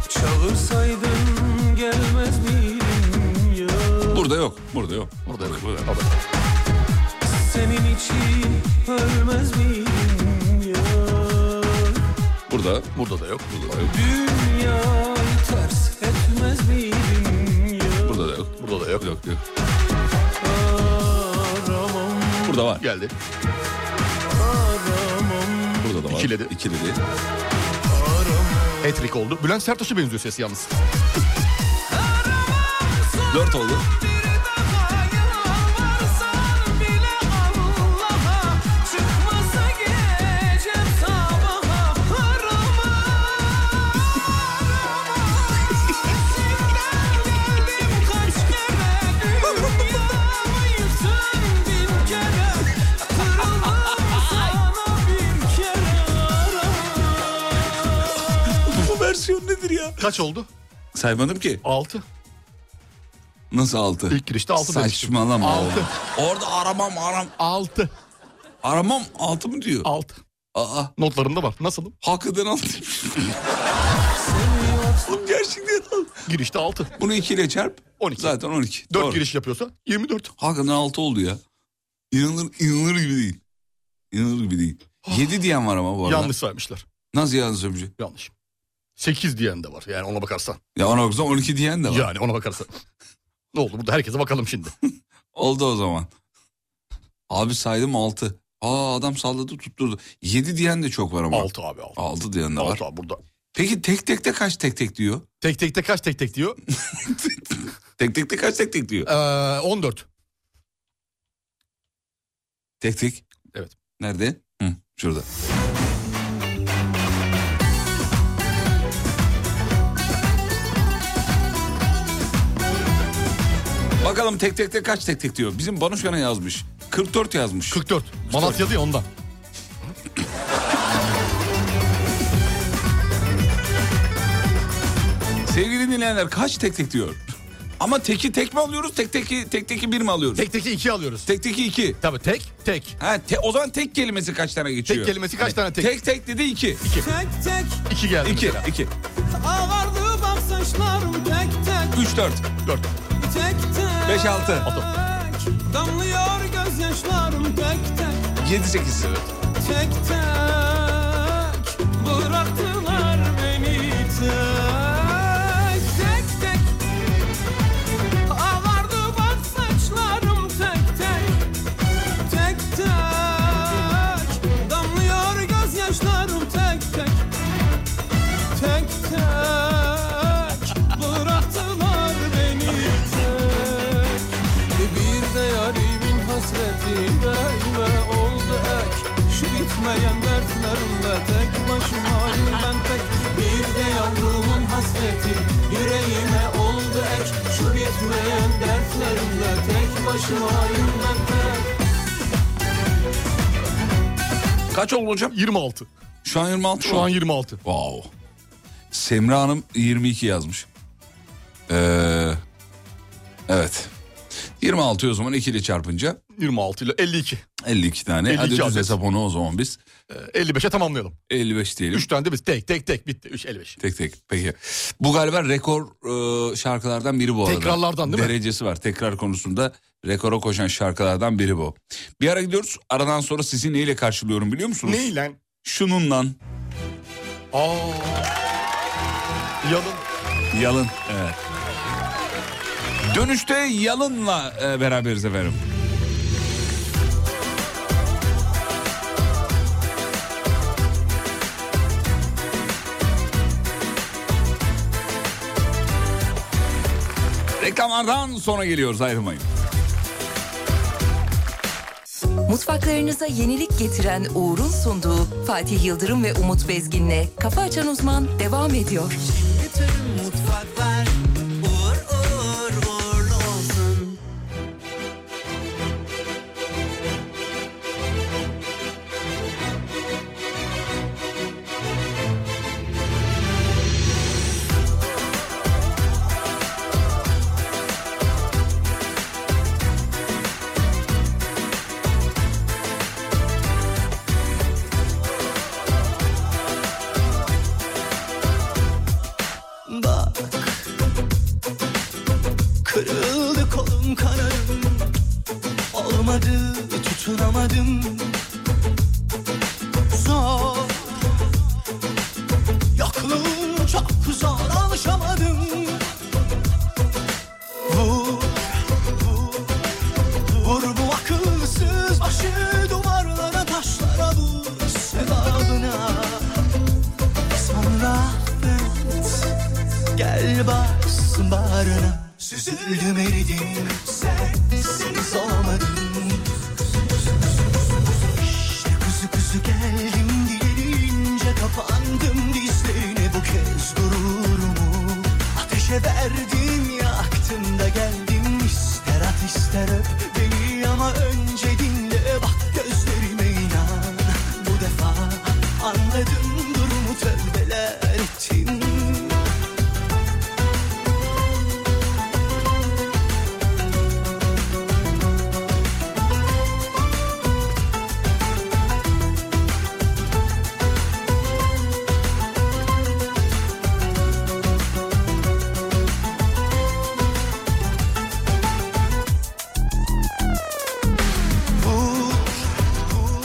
Çağırsaydın gelmez miydim ya
Burada yok. Burada yok. Burada yok. Burada. yok.
Senin için ölmez miydim ya
Burada.
Burada da yok.
Burada da yok.
Dünyayı ters etmez miydim ya?
Burada da yok.
Burada da yok.
Yok yok.
Aramam,
Burada var.
Geldi.
aramam
Burada da var.
İkiledi.
İkiledi.
Etrik oldu. Bülent Sertaş'a benziyor sesi yalnız.
Dört oldu.
Yalvarsan bile Allah'a Çıkmasa gecem sabaha Arama Senden geldim kaç kere Dünyamı yıktın bin kere Kırıldım sana bin kere Arama
Bu versiyon nedir ya?
Kaç oldu?
Saymadım ki.
6.
Nasıl altı?
İlk girişte altı demiştim.
Saçmalama.
Altı.
oğlum. Orada aramam aram.
6.
Aramam altı mı diyor?
6.
Aa.
Notlarımda var. Nasılım?
Hakikaten altı. Oğlum gerçekten altı.
Girişte 6.
Bunu 2 ile çarp.
12.
Zaten 12.
4
Doğru.
giriş yapıyorsa 24.
Hakikaten 6 oldu ya. İnanılır, inanılır gibi değil. İnanılır gibi değil. 7 diyen var ama bu arada.
Ah. Yanlış saymışlar.
Nasıl yanlış bir şey?
Yanlış. 8 diyen de var yani ona bakarsan.
Ya ona baksan 12 diyen de var.
Yani ona bakarsan. ne oldu burada herkese bakalım şimdi.
Oldu o zaman. Abi saydım 6. Aa adam salladı tutturdu. 7 diyen de çok var ama.
6 abi 6.
6 diyen de var.
6 abi burada.
Peki tek tekte kaç tek tek diyor?
Tek tekte kaç tek tek diyor?
Tek tekte kaç tek tek diyor?
Ee, 14.
Tek tek.
Evet.
Nerede? Hı, şurada. Bakalım tek tekte kaç tek tek diyor. Bizim Banuşkan'a yazmış. 44 yazmış.
44. Malatya diyor ondan.
Sevgili dinleyenler kaç tek tek diyor. Ama teki tek mi alıyoruz tek teki tek teki bir mi alıyoruz? Tek,
Tek teki 2 alıyoruz.
teki iki.
Tabii tek tek.
Ha, te- o zaman tek kelimesi kaç tane geçiyor? Hani
Tek kelimesi kaç tane tek?
Tek tek dedi iki.
Tek tek
2 geldi.
İki, E,
2.
iki.
ağardı bak saçlarım tek tek
Üç, dört,
4.
tek tek
beş, altı,
Damlıyor gözyaşlarım tek tek
yedi, sekiz.
Tek tek bıraktılar beni tek Tek tek
hasreti Yüreğime oldu ek Şu bitmeyen dertlerimle Tek başımayım ben tek
Kaç oldu hocam?
26.
Şu an 26
Şu
mı?
an 26.
Wow. Semra Hanım 22 yazmış. Ee, evet. 26 o zaman ikili çarpınca
26 ile 52.
52 tane.
52
Hadi düz
adet.
hesap onu o zaman biz.
Ee, 55'e tamamlayalım.
55 diyelim.
3 tane de biz tek tek tek bitti. 3 55.
Tek tek peki. Bu galiba rekor e, şarkılardan biri bu arada.
Tekrarlardan değil mi?
Derecesi var. Tekrar konusunda rekora koşan şarkılardan biri bu. Bir ara gidiyoruz. Aradan sonra sizi neyle karşılıyorum biliyor musunuz?
Ney lan?
Şununla.
Aa. Yalın.
Yalın. Evet. Dönüşte Yalın'la e, beraberiz efendim. Reklamlardan sonra geliyoruz ayrılmayın.
Mutfaklarınıza yenilik getiren Uğur'un sunduğu Fatih Yıldırım ve Umut Bezgin'le Kafa Açan Uzman devam ediyor.
Bütün mutfaklar uğur uğur uğurlu olsun.
Bak Kırıldı kolum kanarım Olmadı tutunamadım Zor Yokluğun çok zor alışamadım Vur vur Vur bu akılsız başı duvarlara taşlara vur Sevabına Sonra affet Gel bas bağrına Süzüldüm eridim Sensiz olmadım İşte kuzu kuzu geldim Diyelince kapandım dizlerine Bu kez gururumu Ateşe verdim yaktım da geldim İster at ister öp beni Ama önce dinle bak gözlerime inan Bu defa anladım durumu Tövbeler ettim Vur, vur,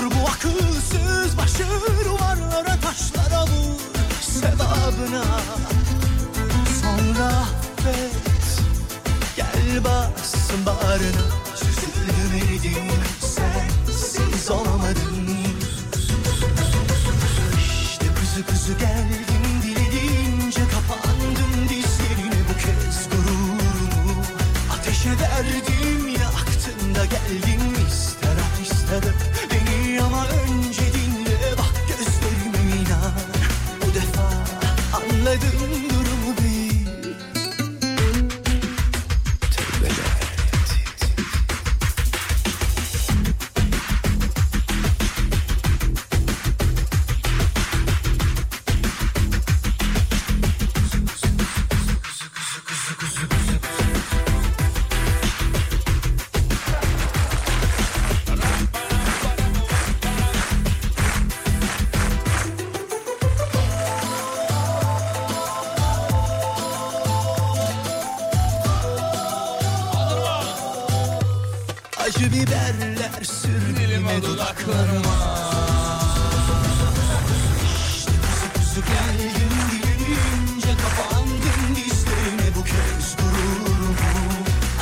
vur bu akılsız başı duvarlara taşlara vur sevabına Sonra affet gel bas bağrına Süzüldüm eridim sensiz olamadım işte kuzu kuzu geldim dilediğince kapandım dizlerine bu kez gururumu Ateşe verdim yaktın da geldim ister at ister öp beni ama önce dinle bak gözlerime inan Bu defa anladım durumu bil Tövbeler ettim. Acı biberler sürdüğüme dudaklarıma İşte kuzu kuzu geldim dilince kapandım dizlerime bu kez gururumu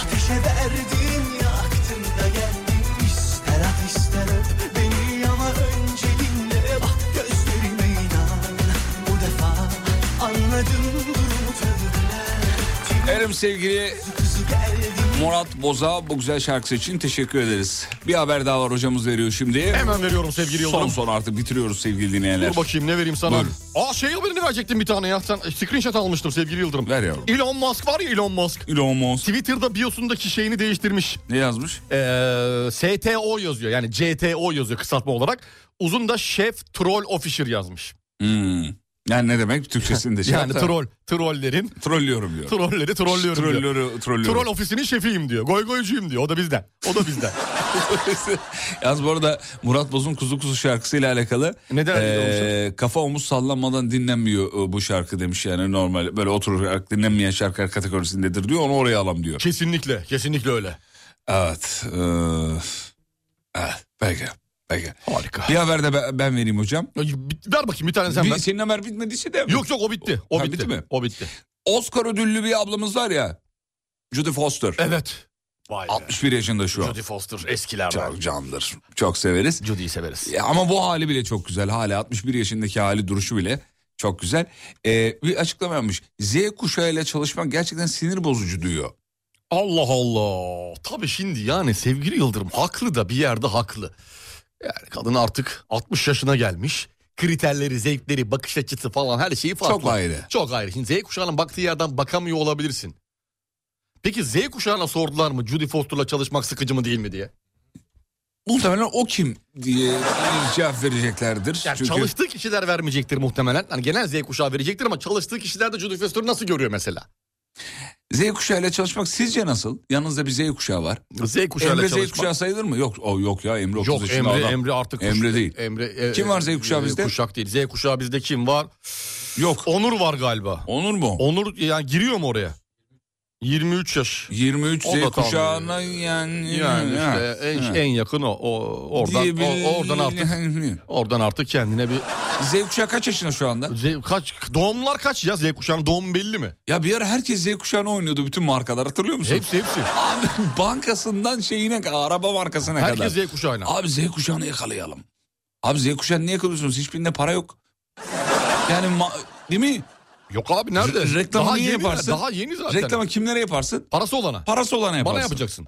Ateşe verdim yaktın da geldim ister at ister öp beni ama önce dinle bak gözlerime inan Bu defa anladım durumu tövbeler
Efendim sevgili
Kuzu geldim
Murat Boza bu güzel şarkısı için teşekkür ederiz. Bir haber daha var hocamız veriyor şimdi.
Hemen veriyorum sevgili Yıldırım.
Son son artık bitiriyoruz sevgili dinleyenler.
Dur bakayım ne vereyim sana.
Buyurun.
Aa şey haberini verecektim bir tane ya. Sen screenshot almıştım sevgili Yıldırım.
Ver yavrum.
Elon Musk var ya Elon Musk.
Elon Musk
Twitter'da biosundaki şeyini değiştirmiş.
ne yazmış?
Ee, STO yazıyor yani CTO yazıyor kısaltma olarak. Uzun da Chef Troll Officer yazmış.
Hmm. Yani ne demek Türkçesini de şey
Yani
yaptı.
troll, trolllerin,
trollüyorum diyor.
trolleri trollüyorum diyor.
Trollüyorum.
Troll ofisinin şefiyim diyor. Goygoycuyum diyor. O da bizden. O da bizden.
Yalnız bu arada Murat Boz'un Kuzu Kuzu şarkısıyla alakalı
Neden öyle
eee, kafa omuz sallanmadan dinlenmiyor e, bu şarkı demiş yani normal böyle oturarak dinlenmeyen şarkılar kategorisindedir diyor onu oraya alalım diyor.
kesinlikle. Kesinlikle öyle.
Evet. eee, evet belki. Belki.
Harika.
Bir haber de ben, ben vereyim hocam.
Ver bakayım bir tane sen
Bir-
ver.
senin haber bitmediyse de.
Yok yok o bitti. O
Ha,
bitti.
bitti mi?
O bitti.
Oscar ödüllü bir ablamız var ya. Judy Foster.
Evet. Vay be.
61 yaşında şu an.
Jodie Foster eskilerden.
Çok candır. Çok severiz.
Jodie'yi severiz.
Ya ama bu hali bile çok güzel. Hala 61 yaşındaki hali duruşu bile çok güzel. Ee, bir açıklama yapmış. Z kuşağıyla çalışmak gerçekten sinir bozucu diyor.
Allah Allah. Tabii şimdi yani sevgili Yıldırım haklı da bir yerde haklı. Yani kadın artık 60 yaşına gelmiş. Kriterleri, zevkleri, bakış açısı falan her şeyi farklı.
Çok ayrı.
Çok ayrı. Şimdi Z kuşağının baktığı yerden bakamıyor olabilirsin. Peki Z kuşağına sordular mı Judy Foster'la çalışmak sıkıcı mı değil mi diye?
Muhtemelen o kim diye cevap vereceklerdir.
Yani
Çünkü
çalıştığı kişiler vermeyecektir muhtemelen. Hani genel Z kuşağı verecektir ama çalıştığı kişiler de Judy Foster'ı nasıl görüyor mesela?
Z kuşağıyla çalışmak sizce nasıl? Yanınızda bir Z kuşağı var.
Z kuşağıyla
Emre
çalışmak.
Z kuşağı sayılır mı? Yok o yok ya Emre 30
Yok
yaşında
Emre,
adam.
Emre artık
Emre
kuş-
değil.
Emre, e,
Kim var Z kuşağı
e,
bizde?
Kuşak değil. Z kuşağı bizde kim var?
Yok.
Onur var galiba.
Onur mu?
Onur yani giriyor mu oraya? 23 yaş.
23
O da
Z
tam-
kuşağına yani.
Yani
Ha,
işte en,
ha.
en yakın o. o oradan,
Diyebil-
o- oradan artık oradan artık kendine bir
Z kuşağı kaç yaşında şu anda?
Z, kaç doğumlar kaç ya? Z kuşağının doğumu belli mi?
Ya bir ara herkes Z kuşağına oynuyordu bütün markalar hatırlıyor musun?
Hepsi hepsi.
Abi bankasından şeyine araba markasına kadar.
Herkes Z kuşağına.
Abi Z kuşağını yakalayalım. Abi Z kuşağını niye yakalıyorsunuz? Hiçbirinde para yok. Yani ma- değil mi?
Yok abi nerede?
Re- reklamı
daha
niye
yeni,
yaparsın?
Daha yeni zaten.
Reklamı kimlere yaparsın?
Parası olana.
Parası olana yaparsın.
Bana yapacaksın.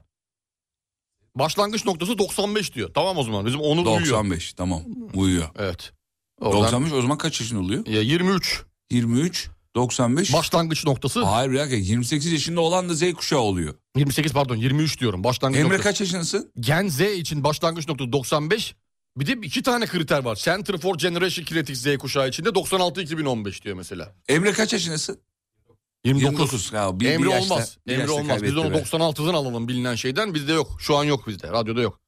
Başlangıç noktası 95 diyor. Tamam o zaman bizim Onur uyuyor.
95 tamam uyuyor.
Evet. Oradan
95 o zaman kaç yaşında oluyor?
Ya 23
23, 95.
başlangıç noktası.
Hayır bir dakika 28 yaşında olan da Z kuşağı oluyor.
28 pardon 23 diyorum başlangıç
Emre
noktası.
kaç yaşındasın?
Gen Z için başlangıç noktası 95. Bir de iki tane kriter var. Center for Generation Kinetics Z kuşağı içinde 96-2015 diyor mesela.
Emre kaç yaşındasın?
29.
29. Ya, bir- bir
Emre
yaşta-
olmaz.
bir
Emre
yaşta
olmaz. Biz
kaybetti
onu
be.
96'dan alalım bilinen şeyden. Bizde yok. Şu an yok bizde. Radyoda yok.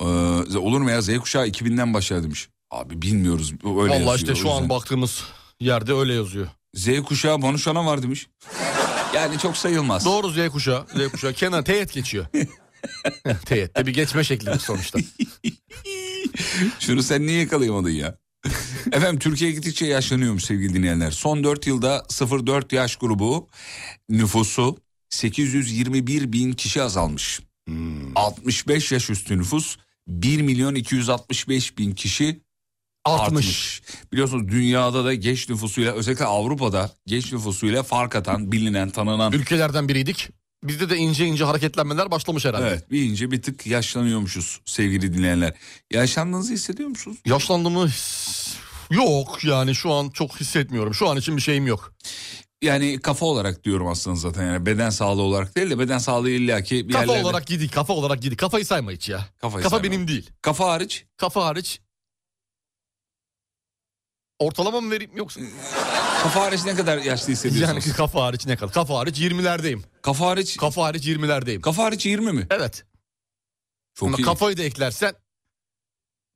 Ee, olur mu ya Z kuşağı 2000'den başlar demiş. Abi bilmiyoruz öyle
Allah
yazıyor,
işte
o
şu an
yüzden.
baktığımız yerde öyle yazıyor.
Z kuşağı Banu Şan'a var demiş. Yani çok sayılmaz.
Doğru Z kuşağı. Z kuşağı. Kenan teğet geçiyor. teğet de bir geçme şekli sonuçta.
Şunu sen niye yakalayamadın ya? Efendim Türkiye gittikçe yaşlanıyormuş sevgili dinleyenler. Son 4 yılda 0-4 yaş grubu nüfusu 821 bin kişi azalmış.
Hmm.
65 yaş üstü nüfus 1 milyon 265 bin kişi
Artmış.
artmış. Biliyorsunuz dünyada da genç nüfusuyla özellikle Avrupa'da genç nüfusuyla fark atan, bilinen, tanınan
Ülkelerden biriydik. Bizde de ince ince hareketlenmeler başlamış herhalde.
Evet bir ince bir tık yaşlanıyormuşuz sevgili dinleyenler. Yaşlandığınızı hissediyor musunuz?
Yaşlandığımı his- yok yani şu an çok hissetmiyorum. Şu an için bir şeyim yok.
Yani kafa olarak diyorum aslında zaten yani beden sağlığı olarak değil de beden sağlığı illaki bir
Kafa
yerlerde.
olarak gidik, kafa olarak gidik. Kafayı sayma hiç ya.
Kafayı
kafa
sayma.
benim değil.
Kafa hariç
Kafa hariç ortalama mı vereyim yoksa?
kafa hariç ne kadar yaşlı
Yani
hissediyorsunuz?
kafa hariç ne kadar? Kafa hariç 20'lerdeyim.
kafa hariç
Kafa hariç 20'lerdeyim.
kafa hariç 20 mi?
Evet.
Çok
Ama
iyi.
kafayı da eklersen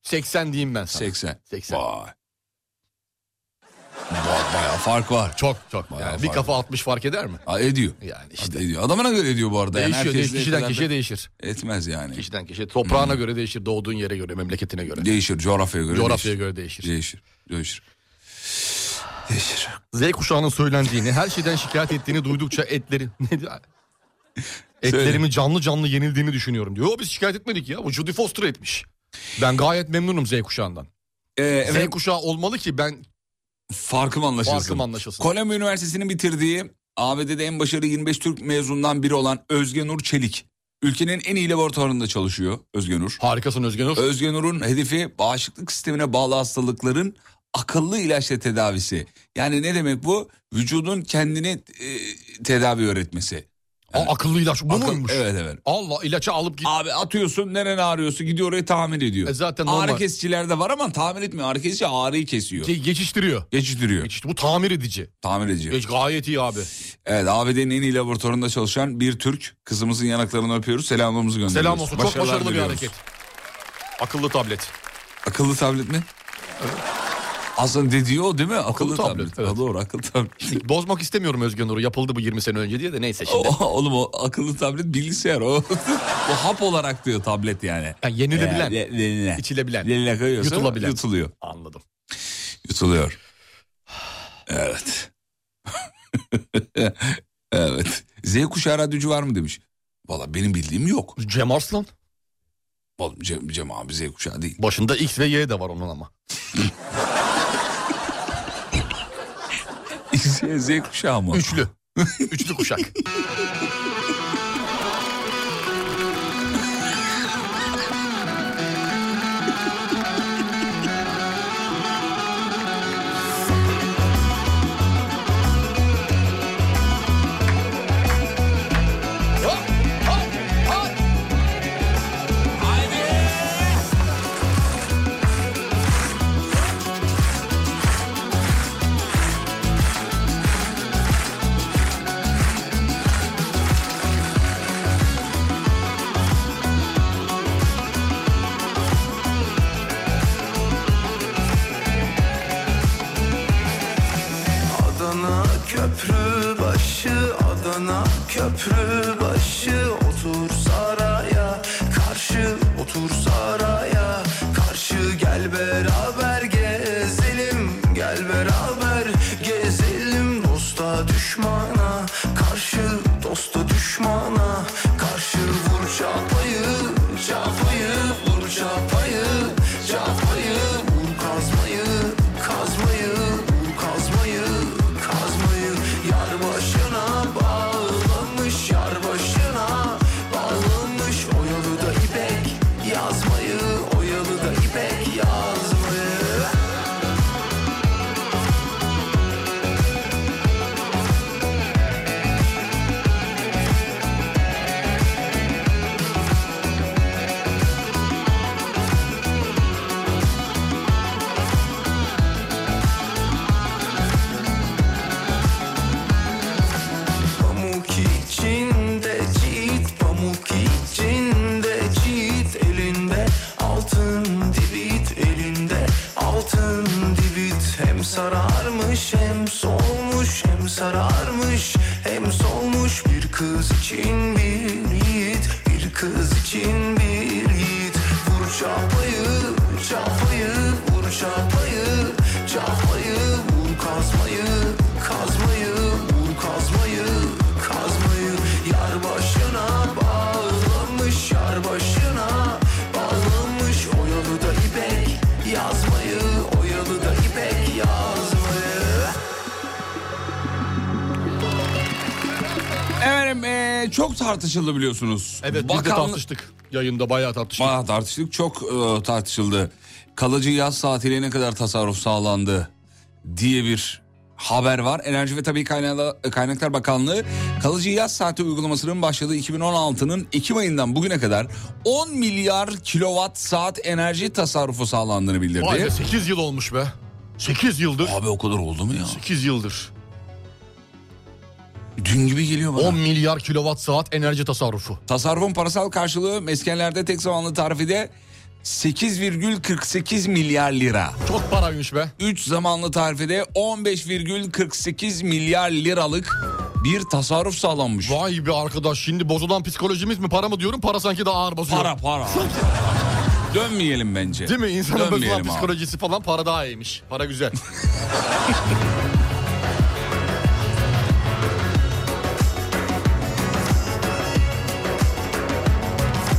80 diyeyim ben sana.
80.
80.
Vay. Ba- Bayağı fark var.
Çok çok.
Bayağı
Yani bir
fark
kafa 60 fark eder mi?
Ha, ediyor.
Yani işte.
İşte. ediyor. Adamına göre ediyor bu arada. Yani
değişiyor.
herkes
değiş- kişiden
ülkelerde
kişiye değişir.
Etmez yani.
Kişiden kişiye. Toprağına göre değişir. Doğduğun yere göre, memleketine göre.
Değişir coğrafyaya göre
Coğrafyaya
Hmm. değişir.
göre değişir.
Değişir. Değişir. Değişir.
Z kuşağının söylendiğini, her şeyden şikayet ettiğini duydukça etleri... Ne diyor? Etlerimin canlı canlı yenildiğini düşünüyorum diyor. Yo biz şikayet etmedik ya. Bu Judy Foster etmiş. Ben gayet memnunum Z kuşağından.
Ee,
Z
efendim,
kuşağı olmalı ki ben
farkım anlaşılsın.
Farkım anlaşılsın.
Kolombiya Üniversitesi'nin bitirdiği ABD'de en başarılı 25 Türk mezunundan biri olan Özge Nur Çelik. Ülkenin en iyi laboratuvarında çalışıyor Özge Nur.
Harikasın Özgen Uğur.
Özge Nur'un hedefi bağışıklık sistemine bağlı hastalıkların akıllı ilaçla tedavisi. Yani ne demek bu? Vücudun kendini e, tedavi öğretmesi.
Aa, akıllı ilaç bu
Akıl-
muymuş?
Evet evet.
Allah ilaçı alıp git.
Abi atıyorsun neren ağrıyorsa gidiyor orayı tamir ediyor.
E zaten normal.
Ağrı kesicilerde var ama tamir etmiyor. Ağrı kesici ağrıyı kesiyor.
Ge- geçiştiriyor.
Geçiştiriyor.
Geçişti. Bu tamir edici.
Tamir ediyor.
Geç gayet iyi abi.
Evet ABD'nin en iyi laboratuvarında çalışan bir Türk. Kızımızın yanaklarını öpüyoruz. Selamlarımızı gönderiyoruz.
Selam olsun. Çok
Başarılar
başarılı bir
diliyoruz.
hareket. Akıllı tablet.
Akıllı tablet mi? Aslında dediği o değil mi? Akıllı,
tablet,
tablet.
evet.
Ha, doğru akıllı tablet.
Bozmak istemiyorum Özgen Uğur'u. Yapıldı bu 20 sene önce diye de neyse şimdi.
O- Oğlum o akıllı tablet bilgisayar o. o hap olarak diyor tablet yani.
Yani yenilebilen,
Yani, le- leline.
içilebilen.
Leline koyuyorsun.
Yutulabilen.
Yutuluyor.
Anladım.
Yutuluyor. Evet. evet. Z kuşağı radyocu var mı demiş. Valla benim bildiğim yok.
Cem Arslan.
Oğlum Cem, Cem abi Z kuşağı değil.
Başında X ve Y de var onun ama.
Z, Z kuşağı mı?
Üçlü. Üçlü kuşak.
Adana köprü başı Adana köprü başı Otur saraya karşı Otur saraya karşı Gel beraber gezelim Gel beraber gezelim Dosta düşmana karşı Dosta düşmana karşı Vur çapayı çapayı Vur çapayı çapayı Vur kazmayı kazmayı Vur kazmayı kazmayı Yar başına bağlanmış Yar başına bağlanmış Oyalı da ipek yazmayı Oyalı da ipek yazmayı Pamuk içinde çiğit Pamuk içinde çiğit Elinde altın divit Elinde altın divit Hem sararmış hem solmuş Hem sararmış hem solmuş Bir kız için bir yiğit Bir kız için bir yiğit Vur çapayı çapayı Vur çapayı çapayı Vur kazmayı kazmayı Vur kazmayı kazmayı Yar başına bağlanmış Yar başına bağlanmış Oyalı da ipek yazmayı Oyalı da ipek yazmayı
Efendim eee, e, çok tartışıldı biliyorsunuz.
Evet biz de
Bakanlık-
tartıştık. Yayında bayağı tartıştık.
Bayağı tartıştık. Çok e, tartışıldı. Kalıcı yaz tatiliyle ne kadar tasarruf sağlandı diye bir haber var. Enerji ve Tabii Kaynakla- Kaynaklar Bakanlığı kalıcı yaz saati uygulamasının başladığı 2016'nın Ekim ayından bugüne kadar 10 milyar kilowatt saat enerji tasarrufu sağlandığını bildirdi.
Vay be 8 yıl olmuş be. 8 yıldır.
Abi o kadar oldu mu ya?
8 yıldır.
Dün gibi geliyor bana.
10 milyar kilowatt saat enerji tasarrufu.
Tasarrufun parasal karşılığı meskenlerde tek zamanlı tarifide 8,48 milyar lira.
Çok paraymış be.
3 zamanlı tarifede 15,48 milyar liralık bir tasarruf sağlanmış.
Vay be arkadaş şimdi bozulan psikolojimiz mi para mı diyorum para sanki daha ağır basıyor.
Para para. Dönmeyelim bence.
Değil mi? İnsanın bozulan
Dönmeyelim abi.
psikolojisi falan para daha iyiymiş. Para güzel.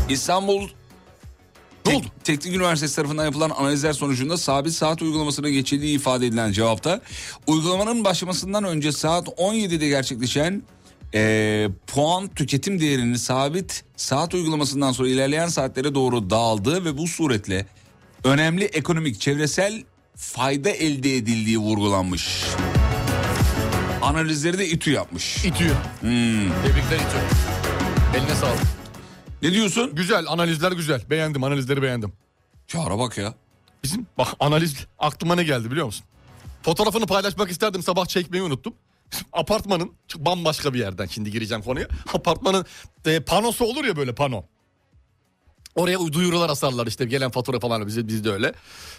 İstanbul
Ne oldu?
Teknik Üniversitesi tarafından yapılan analizler sonucunda sabit saat uygulamasına geçildiği ifade edilen cevapta uygulamanın başlamasından önce saat 17'de gerçekleşen eee, puan tüketim değerinin sabit saat uygulamasından sonra ilerleyen saatlere doğru dağıldığı ve bu suretle önemli ekonomik çevresel fayda elde edildiği vurgulanmış. Analizleri de İTÜ yapmış.
İtiyor. Tebrikler itiyor. Eline sağlık.
Ne diyorsun?
Güzel analizler güzel. Beğendim analizleri beğendim.
Çağrı bak ya.
Bizim bak analiz aklıma ne geldi biliyor musun? Fotoğrafını paylaşmak isterdim sabah çekmeyi unuttum. Apartmanın çok bambaşka bir yerden şimdi gireceğim konuya. Apartmanın e, panosu olur ya böyle pano. Oraya duyurular asarlar işte gelen fatura falan bize bizde öyle.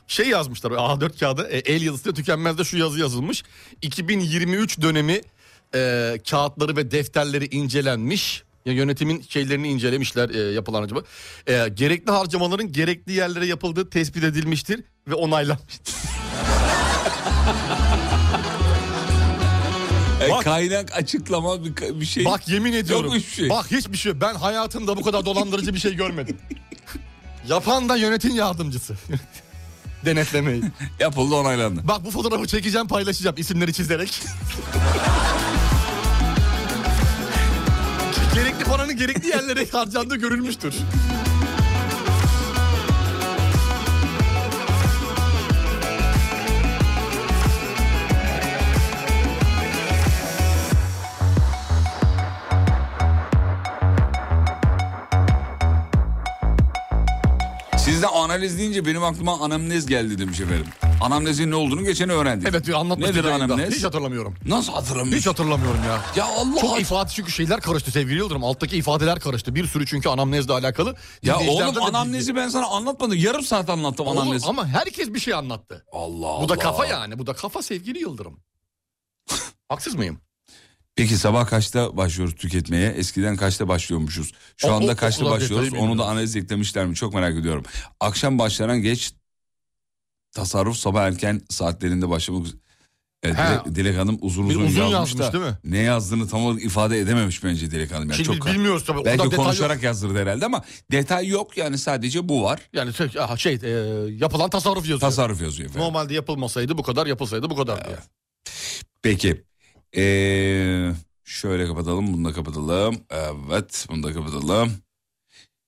Şey yazmışlar A4 kağıdı e, el yazısıyla tükenmezde şu yazı yazılmış. 2023 dönemi e, kağıtları ve defterleri incelenmiş. Ya yönetimin şeylerini incelemişler e, yapılan acaba. E, gerekli harcamaların gerekli yerlere yapıldığı tespit edilmiştir ve onaylanmıştır.
E, kaynak açıklama bir, ka- bir şey.
Bak yemin ediyorum.
Yok hiçbir şey.
Bak hiçbir şey. yok. Ben hayatımda bu kadar dolandırıcı bir şey görmedim. Yapan da yönetim yardımcısı. Denetlemeyi.
Yapıldı onaylandı.
Bak bu fotoğrafı çekeceğim paylaşacağım isimleri çizerek. gerekli paranın gerekli yerlere harcandığı görülmüştür.
Sizde analiz deyince benim aklıma anamnez geldi demiş efendim. Anamnezin ne olduğunu geçen öğrendik.
Evet diyor anlatmıştım.
Nedir
yayında.
anamnez?
Hiç hatırlamıyorum.
Nasıl hatırlamıyorsun?
Hiç hatırlamıyorum ya.
Ya Allah
Çok
aşkına.
ifade çünkü şeyler karıştı sevgili Yıldırım. Alttaki ifadeler karıştı. Bir sürü çünkü anamnezle alakalı.
Ya
Dinleyicilerden de
oğlum anamnezi ben sana anlatmadım. Yarım saat anlattım
Oğlum,
anamnezi.
ama herkes bir şey anlattı.
Allah Allah.
Bu da kafa yani. Bu da kafa sevgili Yıldırım. Haksız mıyım?
Peki sabah kaçta başlıyoruz tüketmeye? Eskiden kaçta başlıyormuşuz? Şu
O-
anda
o-
kaçta
okula
başlıyoruz?
detayı
Onu da analiz eklemişler mi? Çok merak ediyorum. Akşam başlanan geç tasarruf sabah erken saatlerinde başlamak. Evet,
He.
Dilek, Dilek Hanım uzun
Bir
uzun,
uzun
yazmış,
yazmış
da
değil mi?
ne yazdığını tam olarak ifade edememiş bence Dilek Hanım. Yani
Şimdi
çok
bilmiyoruz tabii. Orada
Belki
detay yok.
konuşarak yazdırdı herhalde ama detay yok yani sadece bu var.
Yani şey, aha, şey e, yapılan tasarruf yazıyor.
Tasarruf yazıyor efendim.
Normalde yapılmasaydı bu kadar, yapılsaydı bu kadar diye.
Peki. Ee, şöyle kapatalım, bunu da kapatalım. Evet, bunu da kapatalım.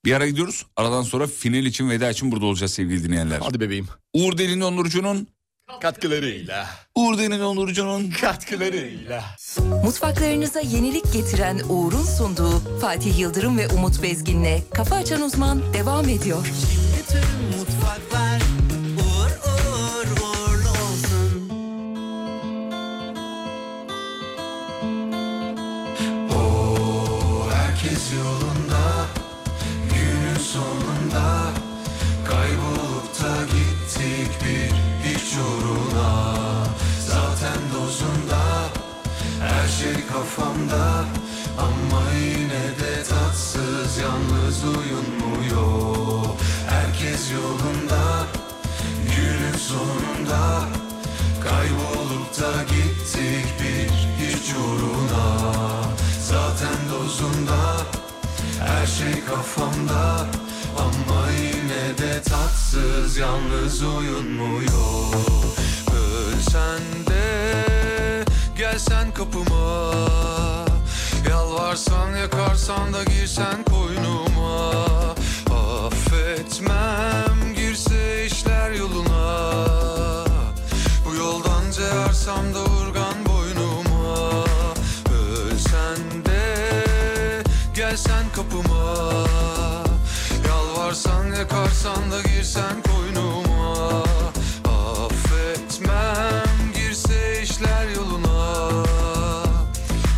Bir ara gidiyoruz. Aradan sonra final için veda için burada olacağız sevgili dinleyenler.
Hadi bebeğim.
Uğur Derin Onurcu'nun
Katkılarıyla.
Uğur Derin Onurcu'nun
Katkılarıyla.
Mutfaklarınıza yenilik getiren Uğur'un sunduğu Fatih Yıldırım ve Umut Bezgin'le Kafa Açan Uzman devam ediyor.
Tüm mutfaklar uğur uğur uğurlu olsun.
Herkes yolunda Günün sonunda Kaybolup da gittik bir hiç uğruna Zaten dozunda Her şey kafamda Ama yine de tatsız Yalnız uyunmuyor Herkes yolunda Günün sonunda Kaybolup da gittik bir hiç uğruna Zaten dozunda her şey kafamda Ama yine de tatsız yalnız uyunmuyor Ölsen de gelsen kapıma Yalvarsan yakarsan da girsen koynuma Affetmem girse işler yoluna Bu yoldan cevarsam da urgan boynuma Ölsen de gelsen kapıma Yalvarsan yakarsan da girsen koynuma Affetmem girse işler yoluna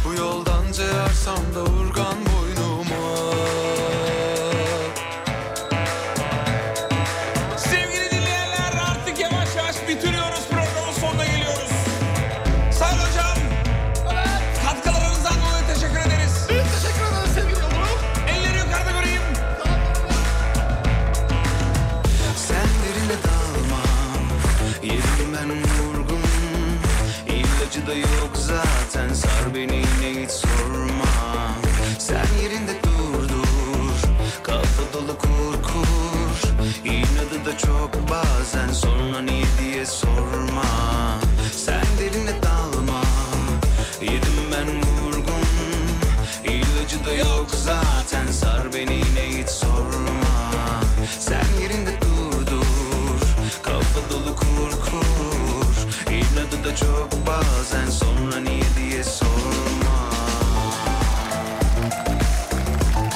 Bu yoldan cevarsam da urgan boynuma
Sevgili dinleyenler artık yavaş yavaş bitiriyoruz programın sonuna geliyoruz. Sayın hocam. Katkılarınızdan dolayı teşekkür ederiz. Biz teşekkür ederiz sevgili yavrum. Elleri yukarıda göreyim.
Sen derine dalmam Yerim ben vurgun İlacı da yok zaten Sar beni yine hiç sorma Sen yerinde durdur Kafa dolu kurkur İyi da çok bazen Sonra niye diye sorma Sen derine dalma Yedim ben vurgun İlacı da yok zaten Sar beni yine hiç sorma Sen yerinde dur dur Kafa dolu kur kur İnadı da çok bazen Sonra niye diye sorma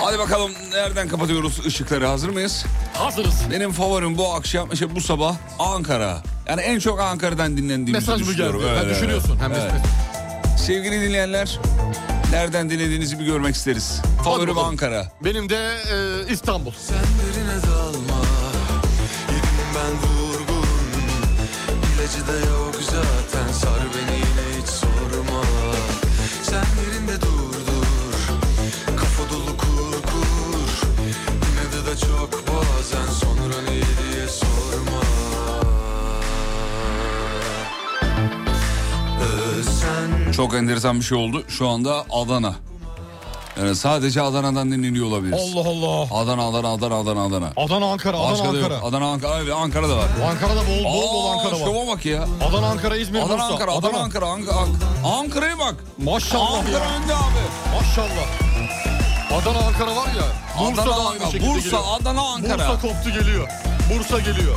Hadi bakalım nereden kapatıyoruz ışıkları hazır mıyız?
Hazırız.
Benim favorim bu akşam işte bu sabah Ankara. Yani en çok Ankara'dan dinlendiğimizi
Mesaj mı geldi?
düşünüyorum.
Ha,
Evet,
düşünüyorsun.
evet,
Hem de
evet. Sevgili dinleyenler nereden dinlediğinizi bir görmek isteriz. Favorim
bakalım.
Ankara.
Benim de e, İstanbul.
Sen derine dalma Yedim ben vurgun İlacı da yok zaten Sar beni yine hiç sorma Sen yerinde dur dur Kafa dolu kur kur İnadı da çok bazen Sonra ne diye sorma Ee, Sen
Çok enteresan bir şey oldu. Şu anda Adana. Yani sadece Adana'dan dinleniyor olabiliriz.
Allah Allah.
Adana, Adana, Adana, Adana, Adana.
Adana Ankara, Adana
Başka da yok.
Ankara.
Adana, Ankara. Evet, Ankara'da var.
Ankara'da bol bol, bol
Aa,
Ankara var.
şova bak ya.
Adana Ankara İzmir
Adana,
Bursa.
Ankara, Adana, Ankara. Ank- Ank- Ankara'ya bak.
Maşallah
Ankara
ya.
önde abi.
Maşallah. Adana Ankara var ya. Bursa
Adana,
da aynı
Ankara.
şekilde
Bursa,
geliyor.
Adana, Ankara.
Bursa koptu geliyor. Bursa geliyor.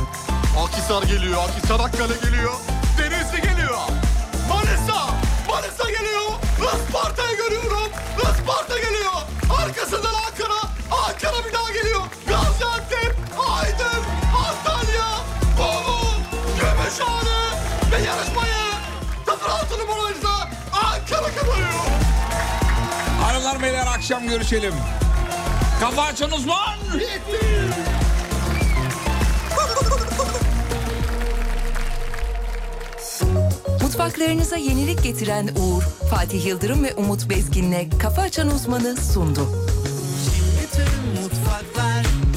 Akhisar geliyor. Akhisar Akkale geliyor. Denizli geliyor. Manisa. Manisa geliyor. Isparta'yı görüyorum. Isparta geliyor. Arkasından Ankara. Ankara bir daha geliyor. Gaziantep. Aydın. Antalya. Bolu. Gümüşhane. Ve yarışmayı 06 numarayla Ankara kazanıyor.
Hanımlar beyler akşam görüşelim. Kafa açan uzman.
Mutfaklarınıza yenilik getiren Uğur, Fatih Yıldırım ve Umut Bezgin'le Kafa Açan Uzman'ı sundu.
Bütün mutfaklar